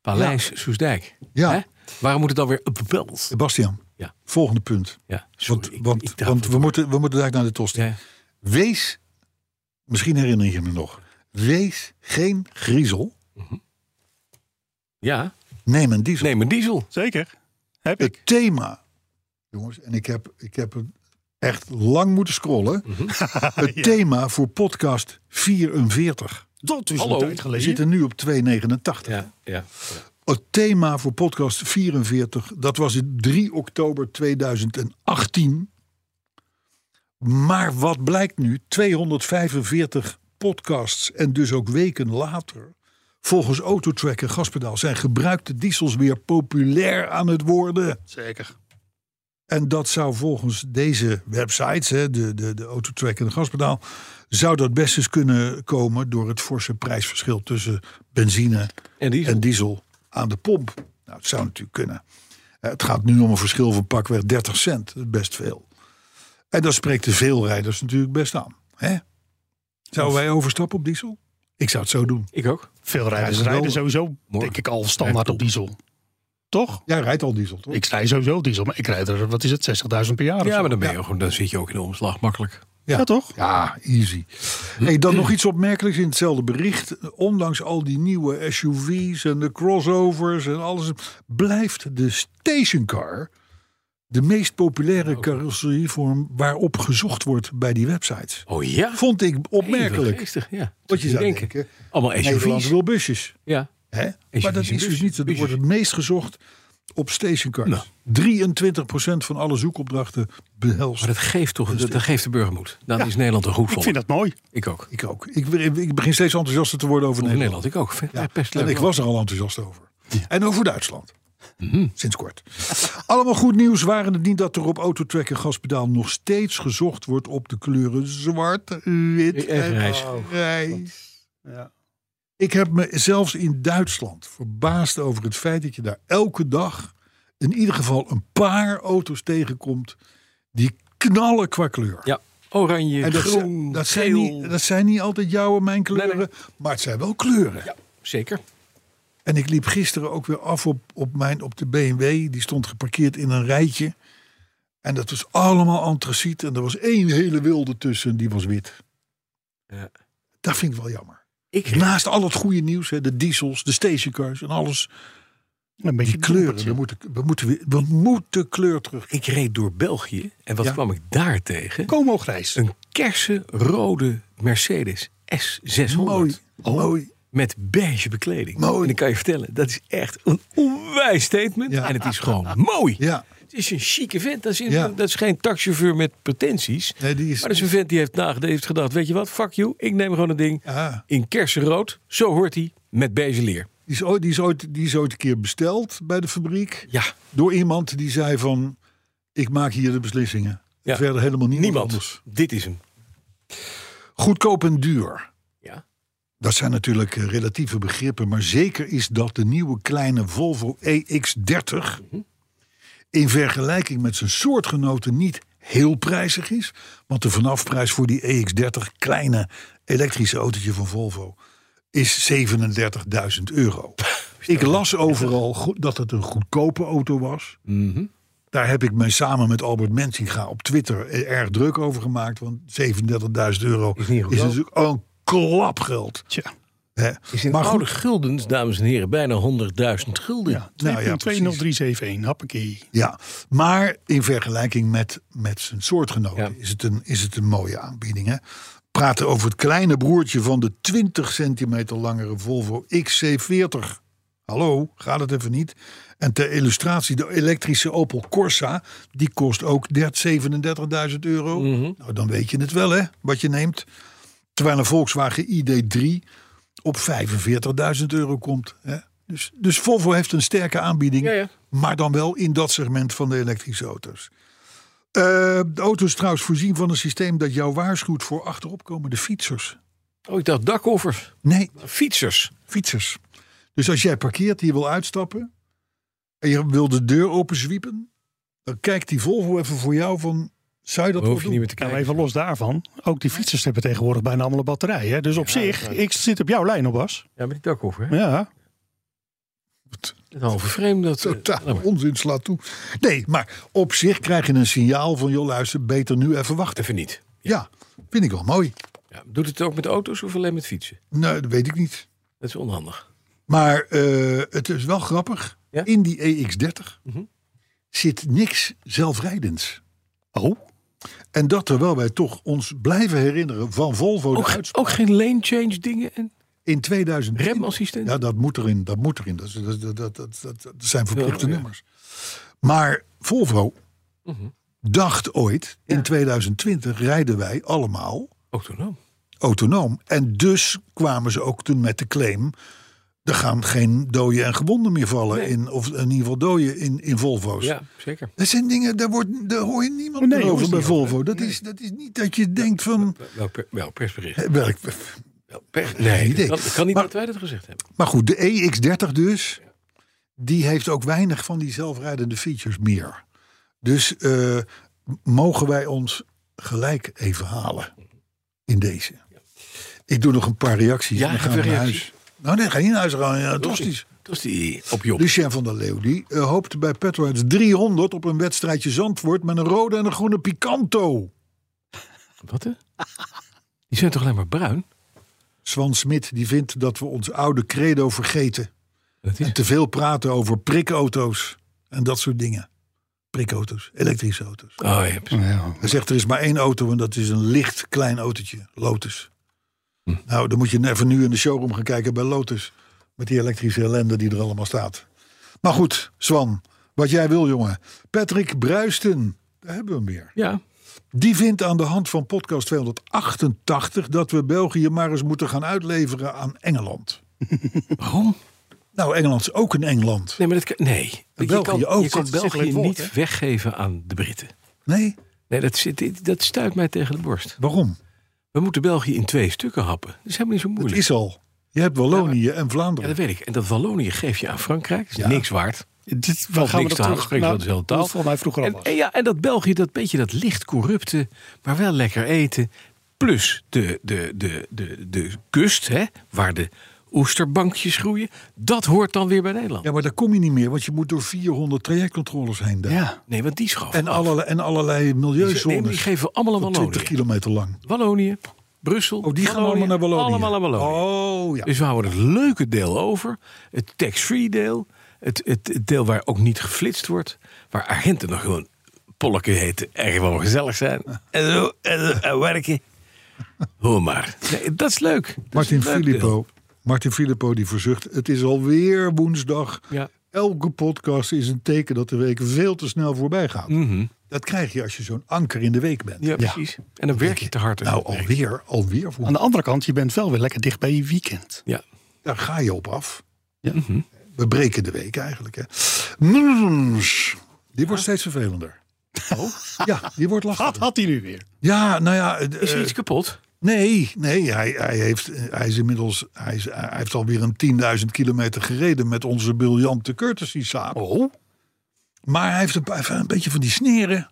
C: Paleis Soesdijk.
B: Ja.
C: Hè? Waarom moet het dan weer at the Palace?
B: Sebastian,
C: Ja.
B: volgende punt.
C: Ja, sorry,
B: Want,
C: ik-
B: want,
C: ik dacht-
B: want we, moeten, we moeten eigenlijk naar de tosti.
C: Ja.
B: Wees, misschien herinner je me nog, wees geen griezel,
C: ja,
B: neem een diesel.
C: neem een diesel.
D: Zeker. Heb ik.
B: Het thema, jongens, en ik heb, ik heb het echt lang moeten scrollen. Het thema voor podcast 44.
D: Dat is
C: Hallo.
D: een tijd
B: We
D: geleden.
B: zitten nu op 289.
C: Ja, ja.
B: Het thema voor podcast 44, dat was het 3 oktober 2018. Maar wat blijkt nu, 245 podcasts en dus ook weken later, volgens Autotrack en Gaspedaal, zijn gebruikte diesels weer populair aan het worden.
D: Zeker.
B: En dat zou volgens deze websites, hè, de, de, de Autotrack en de Gaspedaal, zou dat best eens kunnen komen door het forse prijsverschil tussen benzine
C: En diesel.
B: en diesel aan de pomp. Nou, het zou natuurlijk kunnen. Eh, Het gaat nu om een verschil van pakweg 30 cent. Dat is best veel. En dat spreekt de veelrijders natuurlijk best aan. Hè? Zouden wij overstappen op diesel? Ik zou het zo doen.
C: Ik ook.
D: Veel rijders
B: Ja, dat
D: rijden
B: wel.
D: sowieso, denk ik, al standaard op diesel. Toch?
B: Jij rijdt al diesel, toch?
D: Ik rij sowieso diesel, maar ik rijd er, wat is het, 60.000 per jaar? of
C: Ja,
D: zo.
C: maar dan, ben je, gewoon- dan zit je ook in de omslag makkelijk.
B: Ja,
D: toch?
B: Ja, easy. Hey, dan nog iets opmerkelijks in hetzelfde bericht. Ondanks al die nieuwe SUV's en de crossovers en alles, blijft de stationcar de meest
C: Oh.
B: populaire carrosserievorm waarop gezocht wordt bij die websites.
C: Oh ja?
B: Vond ik
C: Even
B: opmerkelijk.
C: geestig, ja.
B: Wat je
C: Zou
B: zou
C: je denken.
B: denken.
C: Allemaal
B: Nederland
C: SUV's.
B: wil busjes.
C: Ja.
B: Hè?
C: SUV's
B: Maar dat
C: en
B: is dus
C: busjes.
B: niet. Er
C: Busjes.
B: wordt het meest gezocht op stationcars.
C: Nou.
B: 23% van alle zoekopdrachten behelst.
C: Maar dat geeft toch, dat, dat geeft de burgermoed. Dan is Nederland een goed
D: Ik
C: volk.
D: vind dat mooi.
C: Ik ook.
B: Ik ook. Ik, ik begin steeds enthousiaster te worden over
C: Over
B: Nederland.
C: Nederland, ik ook. Vind
B: Ja,
C: het best leuk.
B: en ik was er al enthousiast over. En over Duitsland.
C: Mhm.
B: Sinds kort. Allemaal goed nieuws waren het niet dat er op Autotrack en gaspedaal nog steeds gezocht wordt op de kleuren zwart, wit
C: En
B: en
C: grijs.
B: grijs. Ik heb me zelfs in Duitsland verbaasd over het feit dat je daar elke dag in ieder geval een paar auto's tegenkomt die knallen qua kleur.
C: Ja, oranje,
B: En dat,
C: groen,
B: zijn, dat, zijn
C: geel.
B: niet, dat zijn niet altijd jouw en mijn kleuren,
C: nee.
B: maar het zijn wel kleuren.
C: Ja, zeker.
B: En ik liep gisteren ook weer af op, op, mijn, op de BMW. Die stond geparkeerd in een rijtje. En dat was allemaal antraciet. En er was één hele wilde tussen, die was wit.
C: Ja.
B: Dat vind ik wel jammer.
C: Ik,
B: Naast al het goede nieuws, hè, de diesels, de stationcars en alles.
D: Een beetje
B: Die kleuren,
D: dompertje.
B: we moeten, we moeten, weer- we moeten kleur terug.
C: ik reed door België en wat
B: Ja.
C: kwam ik daar tegen?
D: Como grijs.
C: Een kersenrode Mercedes S600.
B: Mooi,
C: Oh.
B: mooi.
C: Met beige bekleding.
B: Mooi.
C: En ik kan je vertellen, dat is echt een onwijs statement.
B: Ja.
C: En het is gewoon mooi.
B: Ja,
C: Het is een chique vent. Dat is,
B: Ja.
C: dat is geen taxichauffeur met pretenties.
B: nee, die is...
C: Maar dat is een vent die heeft, nagedacht, heeft gedacht, weet je wat, fuck you. Ik neem gewoon een ding
B: Ah.
C: in kersenrood. Zo hoort hij, met beige leer.
B: Die is, ooit, die, is ooit, die is ooit een keer besteld bij de fabriek.
C: Ja.
B: Door iemand die zei van, ik maak hier de beslissingen.
C: Ja.
B: Verder helemaal niemand,
C: Niemand.
B: anders.
C: Dit is hem.
B: Goedkoop en duur.
C: Ja.
B: Dat zijn natuurlijk eh, relatieve begrippen. Maar zeker is dat de nieuwe kleine Volvo EX30... in vergelijking met zijn soortgenoten niet heel prijzig is. Want de vanafprijs voor die EX30 kleine elektrische autootje van Volvo... is 37.000 euro. Ik las overal go- dat het een goedkope auto was.
C: Mhm.
B: Daar heb ik mij samen met Albert Mensinga op Twitter eh, erg druk over gemaakt. Want 37.000 euro
C: Is
B: is,
C: niet goedkoop.
B: natuurlijk een klap geld.
D: Tja,
B: Hè?
C: Is in
B: Maar
C: oude
B: goed,
C: guldens, dames en heren, bijna 100.000 gulden.
D: ja.
B: Nou ja,
D: 2.20371, happakee.
B: ja. Maar in vergelijking met, met zijn soortgenoten
C: Ja.
B: is, het een, is het een mooie aanbieding. Hè? Praten over het kleine broertje van de 20 centimeter langere Volvo XC40. Hallo, gaat het even niet? En ter illustratie, de elektrische Opel Corsa, die kost ook 37.000 euro.
C: Mhm.
B: Nou, dan weet je het wel, hè, wat je neemt. Terwijl een Volkswagen ID3 op 45.000 euro komt. Hè? Dus, dus Volvo heeft een sterke aanbieding,
C: Ja, ja.
B: maar dan wel in dat segment van de elektrische auto's. Eh, de auto is trouwens voorzien van een systeem dat jou waarschuwt voor achteropkomende fietsers.
C: Oh, ik dacht dakoffers.
B: Nee,
C: Fietsers.
B: fietsers. Dus als jij parkeert, en je wil uitstappen en je wil de deur openzwiepen, dan kijkt die Volvo even voor jou van, zou je dat
C: Daar
B: wel
C: hoef je
B: doen?
C: niet meer te
D: Nou,
C: kijken.
D: maar even los daarvan. Ook die fietsers hebben tegenwoordig bijna allemaal een batterij. Hè? Dus op zich, ik zit op jouw lijn op Bas.
C: Ja, met die dakoffer. hè?
D: Ja.
C: Het halve frame. Dat, eh, laat
B: Totaal
C: maar.
B: onzin slaat toe. Nee, maar op zich krijg je een signaal van, joh luister, beter nu even wachten.
C: Even niet.
B: Ja, vind ik wel mooi.
C: Ja, doet het ook met auto's of alleen met fietsen?
B: Nee, dat weet ik niet.
C: Dat is onhandig.
B: Maar eh, het is wel grappig.
C: Ja?
B: In die EX30 zit niks zelfrijdends.
D: Oh,
B: En dat terwijl wij toch ons blijven herinneren van Volvo de
C: Ook, ge-
B: uitspraak
C: ook geen lane change dingen en
B: in 2000.
C: remassistent?
B: Ja, dat moet erin. Dat moet erin. Dat, is- dat, dat, dat, dat, dat- dat zijn verplichte
C: Ja, ja.
B: nummers. Maar Volvo dacht ooit, in 2020 rijden wij allemaal
C: Autonoom.
B: autonoom. En dus kwamen ze ook toen met de claim... er gaan geen doden en gewonden meer vallen.
C: Nee.
B: In, of in ieder geval doden in, in Volvo's.
C: Ja, zeker.
B: Dat zijn dingen, daar, wordt, daar hoor je niemand
D: Nee,
B: meer
D: hoor
B: over
D: je
B: bij
D: niet over.
B: Volvo. Dat, is, dat is niet dat je denkt van...
C: Wel, per, wel persbericht.
B: eh, wel, ik-
C: Wel per- nee,
B: idee.
C: dat kan, kan niet
B: Maar-
C: dat wij dat gezegd hebben.
B: Maar goed, de EX30 dus... die heeft ook weinig van die zelfrijdende features meer. Dus eh, m- mogen wij ons gelijk even halen in deze. Ik doe nog een paar reacties
C: Ja,
B: en dan gaan we
C: even
B: naar
C: reacties.
B: huis. Nou nee, ga je niet naar huis, gaan ja, tostisch.
C: Dat is die op Job.
B: Lucien van der Leeuw die eh, hoopte bij Petroheads 300 op een wedstrijdje Zandvoort... met een rode en een groene Picanto.
C: Wat hè? Die zijn toch alleen maar bruin?
B: Swan Smit die vindt dat we ons oude credo vergeten.
C: Dat is
B: En te veel praten over prikauto's en dat soort dingen. Prikauto's, elektrische auto's.
C: Oh ja, precies.
B: Hij zegt er is maar één auto en dat is een licht klein autootje, Lotus. Nou, dan moet je even nu in de showroom gaan kijken bij Lotus. Met die elektrische ellende die er allemaal staat. Maar goed, Swan, wat jij wil, jongen. Patrick Bruisten, daar hebben we hem weer.
C: ja.
B: Die vindt aan de hand van podcast 288 dat we België maar eens moeten gaan uitleveren aan Engeland.
C: Waarom?
B: Nou, Engeland is ook een Engeland.
C: Nee, maar dat kan, nee. Je
B: België
C: kan,
B: ook.
C: je kan
B: Dat is een
C: België
B: woord,
C: niet
B: hè?
C: weggeven aan de Britten.
B: Nee,
C: Nee, dat, zit, dat stuit mij tegen de borst.
B: waarom?
C: We moeten België in twee stukken happen. Dat is helemaal niet zo
B: Het
C: moeilijk.
B: is al. Je hebt Wallonië en
C: Ja,
B: Vlaanderen.
C: dat weet ik. En dat Wallonië geef je aan Frankrijk. Dat is
B: Ja.
C: niks waard.
D: Dit, waar
C: Valt
D: gaan we
C: niks
D: dat
C: te halen.
D: terug?
C: Spreken ze wel dezelfde taal.
D: dat volgens mij vroeger al
C: En,
D: was.
C: en ja, en dat België, dat beetje dat licht corrupte, maar wel lekker eten. Plus de, de, de, de, de kust, hè, waar de oesterbankjes groeien. Dat hoort dan weer bij Nederland.
B: Ja, maar daar kom je niet meer, want je moet door 400 trajectcontroles heen daar.
D: Ja.
C: Nee, want die schaffen
B: En, allerlei, en allerlei
C: Nee, maar die
B: milieuzones.
C: geven allemaal aan
B: van
C: Wallonië.
B: 20 kilometer lang.
C: Wallonië, Brussel.
B: Oh, die gaan allemaal naar Wallonië.
C: Allemaal naar Wallonië.
B: Oh, ja.
C: Dus we houden het leuke deel over. Het tax-free deel. Het, het, het deel waar ook niet geflitst wordt. Waar agenten nog gewoon polken heten. En gewoon gezellig zijn. En zo, en, zo, en werken. Hoor maar. Nee, dat is leuk. Dat is
B: Martin
C: een leuk deel.
B: Filippo. Martin Filippo die verzucht. Het is alweer woensdag.
C: Ja.
B: Elke podcast is een teken dat de week veel te snel voorbij gaat. Dat krijg je als je zo'n anker in de week bent.
C: Mhm. ja, precies. En dan werk je te hard.
B: Nou, alweer, alweer. Voor,
D: Aan de andere kant, je bent wel weer lekker dicht bij je weekend.
C: Ja.
B: daar ga je op af.
C: Mhm.
B: We breken de week eigenlijk. Hè. Mrrms. Die wordt steeds vervelender.
C: Oh?
B: Ja, die wordt
D: Wat
B: lachen.
D: had hij nu weer?
B: Ja, nou ja. eh,
C: Is er
B: eh,
C: iets kapot?
B: Nee, nee hij, hij, heeft, hij is inmiddels hij, is, hij heeft alweer een 10.000 kilometer gereden met onze briljante courtesy Saab.
D: Oh.
B: Maar hij heeft een, paar- een beetje van die sneren.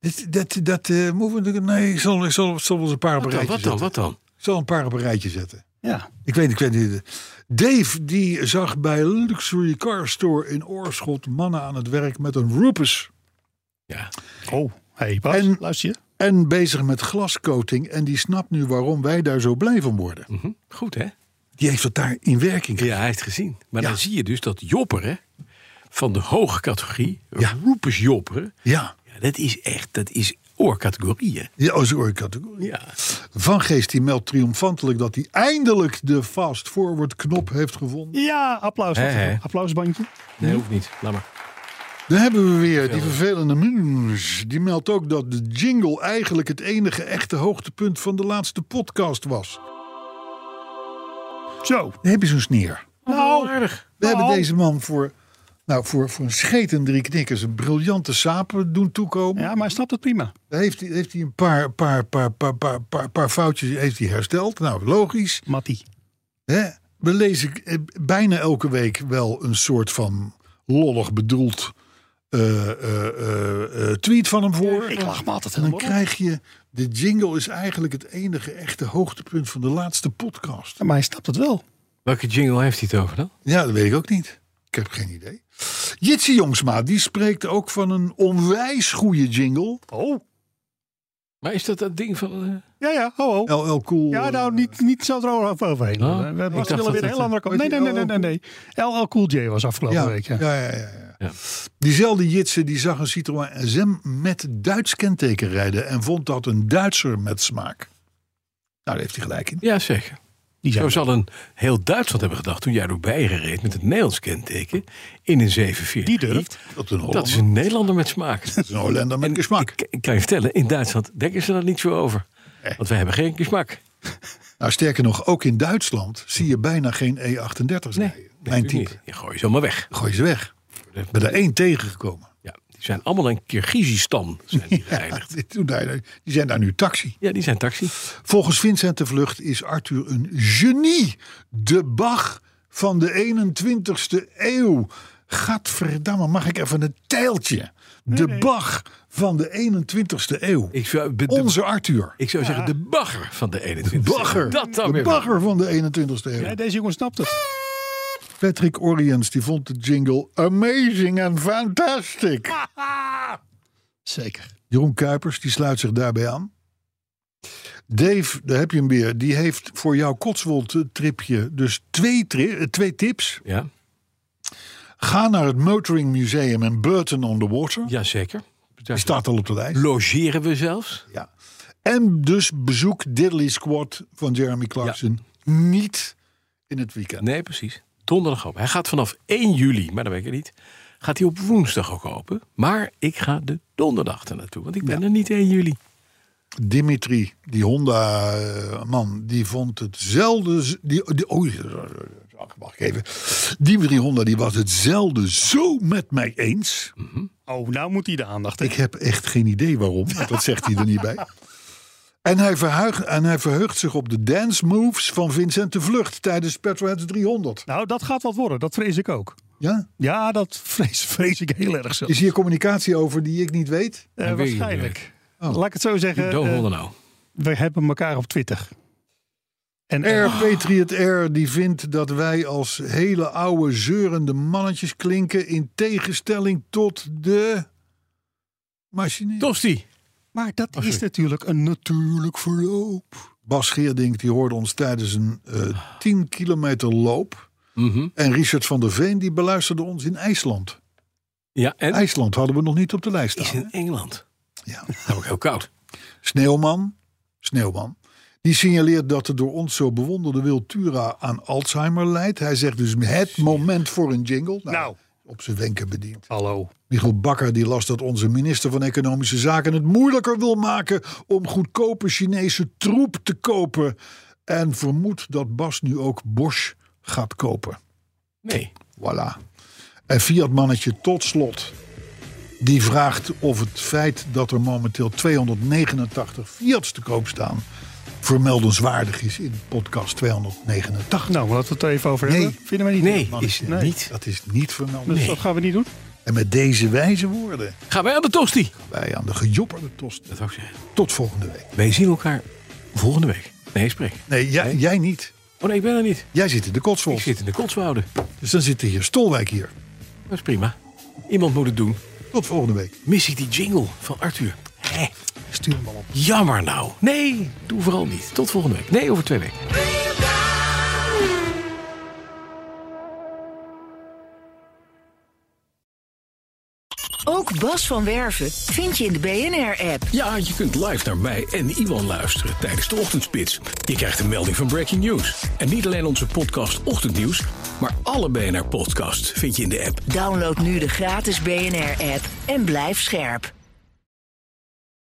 B: Dit, dat, dat, eh, moeten we- nee, ik zal, ik zal, ik zal wel eens een paar op een
C: Wat dan?
B: rijtje
C: Wat dan?
B: zetten.
C: Wat dan?
B: Ik zal een paar op een rijtje zetten.
D: Ja.
B: Ik weet, ik weet niet. Dave die zag bij Luxury Car Store in Oorschot mannen aan het werk met een Rupus.
C: Ja.
D: Oh. hey, Bas,
B: En-
D: luister je?
B: En bezig met glascoating. En die snapt nu waarom wij daar zo blij van worden.
C: Mhm. Goed, hè?
B: Die heeft dat daar in werking
C: Ja, hij heeft gezien. Maar
B: Ja.
C: dan zie je dus dat jopperen van de hoge categorie,
B: Ja.
C: roepers jopperen,
B: Ja,
C: ja, dat is echt, dat is oorcategorieën.
B: ja oh, als oorcategorie.
C: Ja.
B: Van Geest die meldt triomfantelijk dat hij eindelijk de fast forward knop heeft gevonden.
D: Ja, applaus.
C: Hè, hè.
D: Applausbandje.
C: Nee, hoeft niet. Laat maar.
B: Dan hebben we weer die vervelende Muns. Die meldt ook dat de jingle eigenlijk het enige echte hoogtepunt van de laatste podcast was.
D: Zo.
B: Dan heb je zo'n sneer.
D: Nou,
C: Aardig.
B: We
D: Nou.
B: hebben deze man voor, nou, voor, voor een scheet en drie knikkers een briljante sapen doen toekomen.
D: ja, maar hij snapt het prima.
B: Daar Heeft, hij, heeft hij een paar, paar, paar, paar, paar, paar, paar foutjes heeft hij hersteld. Nou, logisch.
D: Mattie.
B: Hè? We lezen eh, bijna elke week wel een soort van lollig bedoeld eh, eh, eh, eh, tweet van hem voor.
D: Ik lach me altijd
B: en dan
D: helemaal op.
B: krijg je, de jingle is eigenlijk het enige echte hoogtepunt van de laatste podcast.
D: Maar hij snapt het wel.
C: Welke jingle heeft hij het over dan?
B: Ja, dat weet ik ook niet. Ik heb geen idee. Jitsi Jongsma, die spreekt ook van een onwijs goede jingle.
D: Oh.
C: Maar is dat dat ding van... eh,
D: Ja, ja, ho, ho.
B: LL Cool.
D: Ja, nou,
B: eh,
D: niet, niet zo erover- overheen.
C: Oh.
D: We hebben
C: dacht dat
D: willen weer een
C: het-
D: heel andere kant.
B: Weet
D: Nee,
B: je,
D: nee, nee, nee, nee, nee. LL Cool J was afgelopen
B: ja,
D: week.
B: ja,
D: oh. Ja.
B: ja, ja, ja.
C: Ja.
B: Diezelfde Jitsen die zag een Citroën SM met Duits kenteken rijden en vond dat een Duitser met smaak. Nou, daar heeft hij gelijk in.
C: Ja, zeker.
D: Die
C: Zo
D: zijn
C: zal een heel Duitsland hebben gedacht toen jij door Beieren reed met het Nederlands kenteken in een 740.
D: Die durft.
B: Dat is een Hollander,
C: Dat is een Nederlander met smaak.
B: dat is een Hollander met gesmak.
C: Ik, ik kan je vertellen, in Duitsland denken ze daar niet zo over.
B: Eh.
C: Want wij hebben geen gesmak.
B: Nou, sterker nog, ook in Duitsland zie je bijna geen E38's rijden. Mijn
C: natuurlijk
B: type.
C: niet. Je gooi je zomaar weg.
B: Gooi ze weg. Ik ben er één tegengekomen.
C: Ja, die zijn allemaal in Kirgizistan zijn die geëindigd.
B: Die doen daar- die zijn daar nu taxi.
C: Ja, die zijn taxi.
B: Volgens Vincent de Vlucht is Arthur een genie. De Bach van de 21ste eeuw. Gadverdamme, mag ik even een tijltje? De Bach van de 21ste eeuw.
C: Ik zou, be- de-
B: Onze Arthur.
C: ik zou zeggen de bagger van de 21
B: Bagger.
C: Dat dan
B: de
C: weer.
B: bagger van de 21ste eeuw.
D: Ja, deze jongen snapt het.
B: Patrick Oriens die vond de jingle amazing en fantastic.
D: Zeker.
B: Jeroen Kuipers die sluit zich daarbij aan. Dave, daar heb je hem weer. Die heeft voor jouw Cotswold-tripje dus twee, tri- eh, twee tips.
C: Ja,
B: Ga naar het Motoring Museum in Burton on the Water.
C: jazeker. Daar
B: Die staat al op de lijst.
C: logeren we zelfs.
B: Ja. En dus bezoek Diddley Squad van Jeremy Clarkson niet in het weekend.
C: Nee, precies. Donderdag open. Hij gaat vanaf 1 juli, maar dat weet ik niet. Gaat hij op woensdag ook open. Maar ik ga de donderdag er naartoe, want ik ben er niet 1 juli.
B: Dimitri, die Honda-man, die vond hetzelfde. z- Die, oh, die, oei, ach, mag ik even. Dimitri Honda, die was hetzelfde zo met mij eens.
D: Oh, nou moet hij de aandacht
B: Ik heb echt geen idee waarom, want dat zegt hij er niet bij. En hij, verhuigt, en hij verheugt zich op de dance moves van Vincent de Vlucht tijdens Petroheads 300.
D: Nou, dat gaat wat worden. Dat vrees ik ook.
B: Ja?
D: Ja, dat vrees, vrees ik heel erg zo.
B: Is hier communicatie over die ik niet weet?
D: Eh,
C: Dat weet je
D: waarschijnlijk. Eh,
B: Oh.
D: Laat ik het zo zeggen.
C: Don't
D: eh,
C: hold nou.
D: we hebben elkaar op Twitter. En
B: Air
D: eh,
B: Patriot Air die vindt dat wij als hele oude zeurende mannetjes klinken in tegenstelling tot de machinist.
C: Tosti.
D: maar
B: Oh,
D: dat is natuurlijk een natuurlijk verloop.
B: Bas Geerdink die hoorde ons tijdens een eh 10 kilometer loop.
C: Mhm.
B: En Richard van der Veen die beluisterde ons in IJsland.
C: Ja, en
B: IJsland hadden we nog niet op de lijst
C: is
B: staan.
C: in Engeland.
B: Ja.
C: Nou, ook heel koud.
B: Sneeuwman, Sneeuwman, die signaleert dat de door ons zo bewonderde Wiltura aan Alzheimer leidt. Hij zegt dus het moment voor een jingle.
D: Nou.
B: Op zijn wenken bediend.
D: Hallo.
B: Michiel Bakker die las dat onze minister van Economische Zaken het moeilijker wil maken om goedkope Chinese troep te kopen. En vermoedt dat Bas nu ook Bosch gaat kopen.
C: Nee.
B: Voilà. En Fiat-mannetje tot slot. Die vraagt of het feit dat er momenteel 289 Fiats te koop staan. vermeldenswaardig is in podcast 289.
D: Nou, laten we het er even over
B: Nee.
D: hebben. Vinden wij niet
C: Nee,
D: leuk.
C: is
D: Nee.
C: niet.
B: Dat is niet vermeldenswaardig.
D: Dus dat gaan we niet doen.
B: En met deze wijze woorden.
C: Gaan wij aan de tosti.
B: wij aan de gejopperde tost.
C: Dat zou ik zeggen.
B: Tot volgende week.
C: Wij zien elkaar volgende week. Nee, spreek.
B: Nee, jij, jij niet.
C: Oh nee, ik ben er niet.
B: Jij zit in de
C: Ik
B: Cotswold.
C: zit in de Kotswouden.
B: Dus dan zit de heer Stolwijk hier.
C: Dat is prima. Iemand moet het doen.
B: Tot volgende week.
C: Mis ik die jingle van Arthur? Hé,
B: Stuur hem al op.
C: jammer nou. Nee, doe vooral niet. Tot volgende week. Nee, over twee weken.
F: Ook Bas van Werven vind je in de BNR-app.
G: Ja, je kunt live naar mij en Iwan luisteren tijdens de ochtendspits. Je krijgt een melding van Breaking News. En niet alleen onze podcast Ochtendnieuws, maar alle BNR-podcasts vind je in de app.
F: Download nu de gratis BNR-app en blijf scherp.